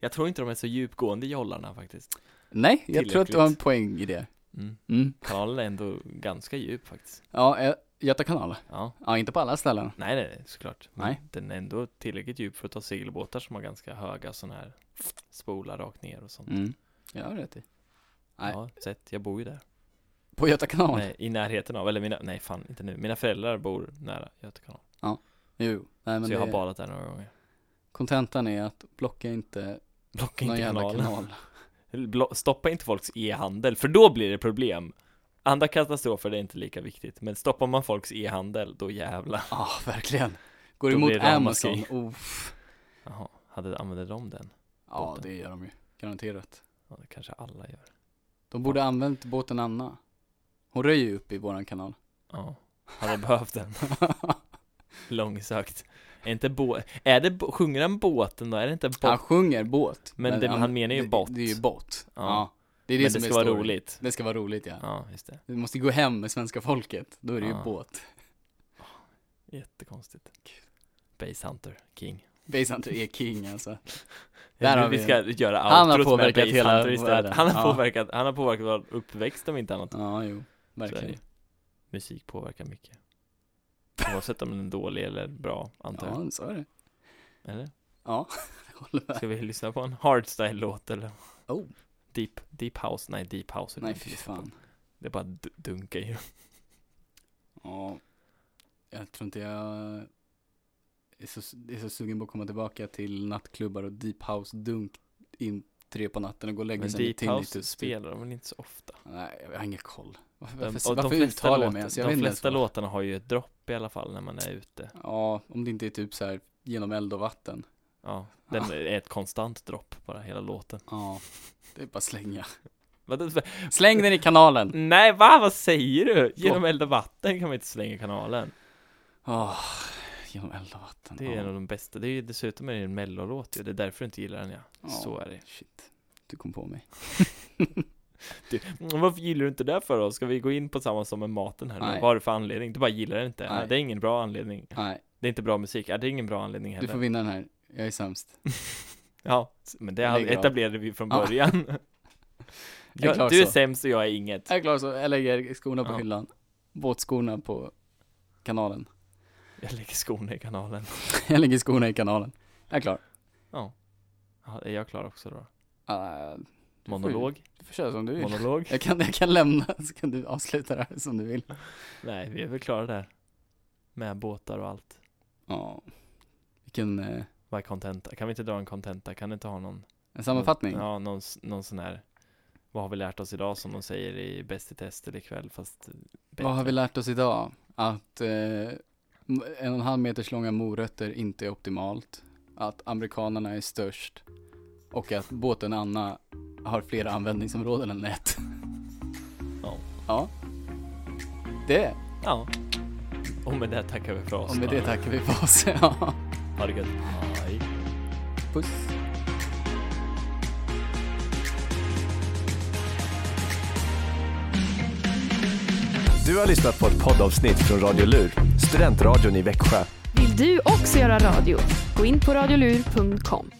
[SPEAKER 1] Jag tror inte de är så djupgående jollarna faktiskt.
[SPEAKER 2] Nej, jag tror att du
[SPEAKER 1] Tillräckligt.
[SPEAKER 2] har en poäng i det.
[SPEAKER 1] Mm.
[SPEAKER 2] Mm.
[SPEAKER 1] Kanalen är ändå ganska djup faktiskt.
[SPEAKER 2] Ja, eh, Göta kanal.
[SPEAKER 1] Ja,
[SPEAKER 2] Ja, inte på alla ställen.
[SPEAKER 1] nej, nej, nej såklart. Men
[SPEAKER 2] Nej.
[SPEAKER 1] Den är ändå tillräckligt djup för att ta segelbåtar som har ganska höga sådana här spolar rakt ner och sånt.
[SPEAKER 2] Mm. Jag har rätt i. Nej.
[SPEAKER 1] Ja, sett, jag bor ju där.
[SPEAKER 2] På Göta kanal?
[SPEAKER 1] Nej, I närheten av, eller mina, nej fan inte nu, mina föräldrar bor nära Göta kanal.
[SPEAKER 2] Jo. Nej, men
[SPEAKER 1] Så jag har
[SPEAKER 2] det,
[SPEAKER 1] badat där några gånger.
[SPEAKER 2] kontentan är att blocka inte
[SPEAKER 1] Blocka
[SPEAKER 2] någon
[SPEAKER 1] inte
[SPEAKER 2] jävla
[SPEAKER 1] kanalen.
[SPEAKER 2] kanal.
[SPEAKER 1] Blo- Stoppa inte folks e-handel, för då blir det problem. Andra katastrofer det är inte lika viktigt, men stoppar man folks e-handel, då jävla.
[SPEAKER 2] Ja, verkligen. Går
[SPEAKER 1] Då
[SPEAKER 2] emot
[SPEAKER 1] blir det
[SPEAKER 2] Amazon.
[SPEAKER 1] ramaskri.
[SPEAKER 2] Uff.
[SPEAKER 1] Jaha, hade, använder de den?
[SPEAKER 2] Ja,
[SPEAKER 1] Båten.
[SPEAKER 2] det gör de ju. Garanterat.
[SPEAKER 1] Ja, det kanske alla gör.
[SPEAKER 2] De borde använt båten Anna. Hon röjer ju upp i våran kanal.
[SPEAKER 1] Ja, hade behövt den. Långsökt. Är inte bå- är det, bo- sjunger han båten då? Är det inte båt?
[SPEAKER 2] Han sjunger båt.
[SPEAKER 1] Men det- han menar ju
[SPEAKER 2] det-
[SPEAKER 1] båt.
[SPEAKER 2] Det är ju båt.
[SPEAKER 1] Ja.
[SPEAKER 2] Ja. Det är det
[SPEAKER 1] Men
[SPEAKER 2] som
[SPEAKER 1] det
[SPEAKER 2] är
[SPEAKER 1] ska vara
[SPEAKER 2] storyn.
[SPEAKER 1] roligt.
[SPEAKER 2] Det ska vara roligt ja.
[SPEAKER 1] Ja, just det.
[SPEAKER 2] Du måste gå hem med svenska folket. Då är det
[SPEAKER 1] Ja.
[SPEAKER 2] ju båt.
[SPEAKER 1] Jättekonstigt. Base Hunter King.
[SPEAKER 2] Basehunter är king alltså.
[SPEAKER 1] Jag
[SPEAKER 2] Där
[SPEAKER 1] tror
[SPEAKER 2] har
[SPEAKER 1] vi
[SPEAKER 2] vi-
[SPEAKER 1] ska göra
[SPEAKER 2] Han har
[SPEAKER 1] outrot med
[SPEAKER 2] påverkat
[SPEAKER 1] Base
[SPEAKER 2] hela
[SPEAKER 1] Hunter istället.
[SPEAKER 2] världen.
[SPEAKER 1] Han har,
[SPEAKER 2] Ja.
[SPEAKER 1] påverkat, han har påverkat vår uppväxt om inte annat.
[SPEAKER 2] Ja, jo.
[SPEAKER 1] Så är
[SPEAKER 2] Verkligen.
[SPEAKER 1] det. Musik påverkar mycket. Oavsett om den är dålig eller bra, antar jag.
[SPEAKER 2] Ja, så är det.
[SPEAKER 1] Eller?
[SPEAKER 2] Ja, jag håller med.
[SPEAKER 1] Ska vi lyssna på en hardstyle-låt eller?
[SPEAKER 2] Oh.
[SPEAKER 1] Deep, deep house? Nej, deep house. är det
[SPEAKER 2] Nej,
[SPEAKER 1] inte
[SPEAKER 2] fy
[SPEAKER 1] vi lyssnar på.
[SPEAKER 2] fan.
[SPEAKER 1] Det är bara d- dunka ju.
[SPEAKER 2] Ja. Jag tror inte jag är så, är så sugen på att komma tillbaka till nattklubbar och deep house dunk in tre på natten och gå och lägga
[SPEAKER 1] Men
[SPEAKER 2] sig med
[SPEAKER 1] deep house
[SPEAKER 2] tinnitus.
[SPEAKER 1] spelar de väl inte så ofta?
[SPEAKER 2] typ. Nej, jag har ingen koll. Varför,
[SPEAKER 1] De-
[SPEAKER 2] varför,
[SPEAKER 1] och de
[SPEAKER 2] varför
[SPEAKER 1] flesta
[SPEAKER 2] uttalar
[SPEAKER 1] låt-
[SPEAKER 2] jag mig ens? Jag
[SPEAKER 1] De
[SPEAKER 2] vet inte ens
[SPEAKER 1] flesta
[SPEAKER 2] vad-
[SPEAKER 1] låtarna har ju ett dropp i alla fall när man är ute.
[SPEAKER 2] Ja, om det inte är typ så här genom eld och vatten.
[SPEAKER 1] Ja, den är ett konstant dropp bara, hela låten.
[SPEAKER 2] Ja, det är bara att slänga.
[SPEAKER 1] Vad-
[SPEAKER 2] Släng den i kanalen!
[SPEAKER 1] Nej, va? Vad säger du? Genom eld och vatten kan man inte slänga kanalen.
[SPEAKER 2] Åh, genom eld och vatten.
[SPEAKER 1] Det är
[SPEAKER 2] Ja.
[SPEAKER 1] en av de bästa. Det är ju dessutom är det en mellolåt ju. Det är därför du inte gillar den ja.
[SPEAKER 2] Ja.
[SPEAKER 1] Så är det.
[SPEAKER 2] Shit, du kom på mig.
[SPEAKER 1] Du, mm, varför gillar du inte det för då? Ska vi gå in på samma som med maten här nu?
[SPEAKER 2] Nej.
[SPEAKER 1] Vad har du för anledning? Du bara gillar den inte.
[SPEAKER 2] Nej.
[SPEAKER 1] Nej. Det är ingen bra anledning.
[SPEAKER 2] Nej,
[SPEAKER 1] Det är inte bra musik. Ja, det är ingen bra anledning
[SPEAKER 2] du
[SPEAKER 1] heller.
[SPEAKER 2] får vinna den här. Jag är sämst.
[SPEAKER 1] Ja, s- men det
[SPEAKER 2] Jag lägger av.
[SPEAKER 1] etablerade vi från
[SPEAKER 2] Ja.
[SPEAKER 1] början.
[SPEAKER 2] är
[SPEAKER 1] Jag,
[SPEAKER 2] klar
[SPEAKER 1] du är
[SPEAKER 2] så.
[SPEAKER 1] sämst och jag är inget.
[SPEAKER 2] Jag är klar så, jag lägger skorna på
[SPEAKER 1] Ja.
[SPEAKER 2] hyllan. Båtskorna på kanalen.
[SPEAKER 1] Jag lägger skorna i kanalen.
[SPEAKER 2] jag lägger skorna i kanalen. Jag är klar.
[SPEAKER 1] Ja. ja är jag klar också då?
[SPEAKER 2] Uh, du
[SPEAKER 1] Monolog?
[SPEAKER 2] Får, du får köra som du vill.
[SPEAKER 1] Monolog?
[SPEAKER 2] Jag kan, jag kan lämna så kan du avsluta det här som du vill.
[SPEAKER 1] Nej, vi är väl klara där. Med båtar och allt.
[SPEAKER 2] Ja. Vilken eh,
[SPEAKER 1] Vad är contenta? Kan vi inte dra en contenta? Kan du inte ha någon?
[SPEAKER 2] en sammanfattning.
[SPEAKER 1] Någon, ja, någon, s- någon sån här. Vad har vi lärt oss idag som de säger i Bäst i test eller ikväll fast bättre.
[SPEAKER 2] Vad har vi lärt oss idag? Att eh, en och en halv meters långa morötter inte är optimalt. Att amerikanerna är störst. Och att båten Anna har flera användningsområden än ett.
[SPEAKER 1] Ja.
[SPEAKER 2] Ja. Det.
[SPEAKER 1] Ja. Och med det tackar vi för oss.
[SPEAKER 2] Och med det tackar vi för oss. Ja.
[SPEAKER 1] Ha det gött. Hej.
[SPEAKER 2] Puss.
[SPEAKER 3] Du har lyssnat på ett poddavsnitt från Radio Lur, studentradion i Växjö.
[SPEAKER 4] Vill du också göra radio? Gå in på radiolur.com.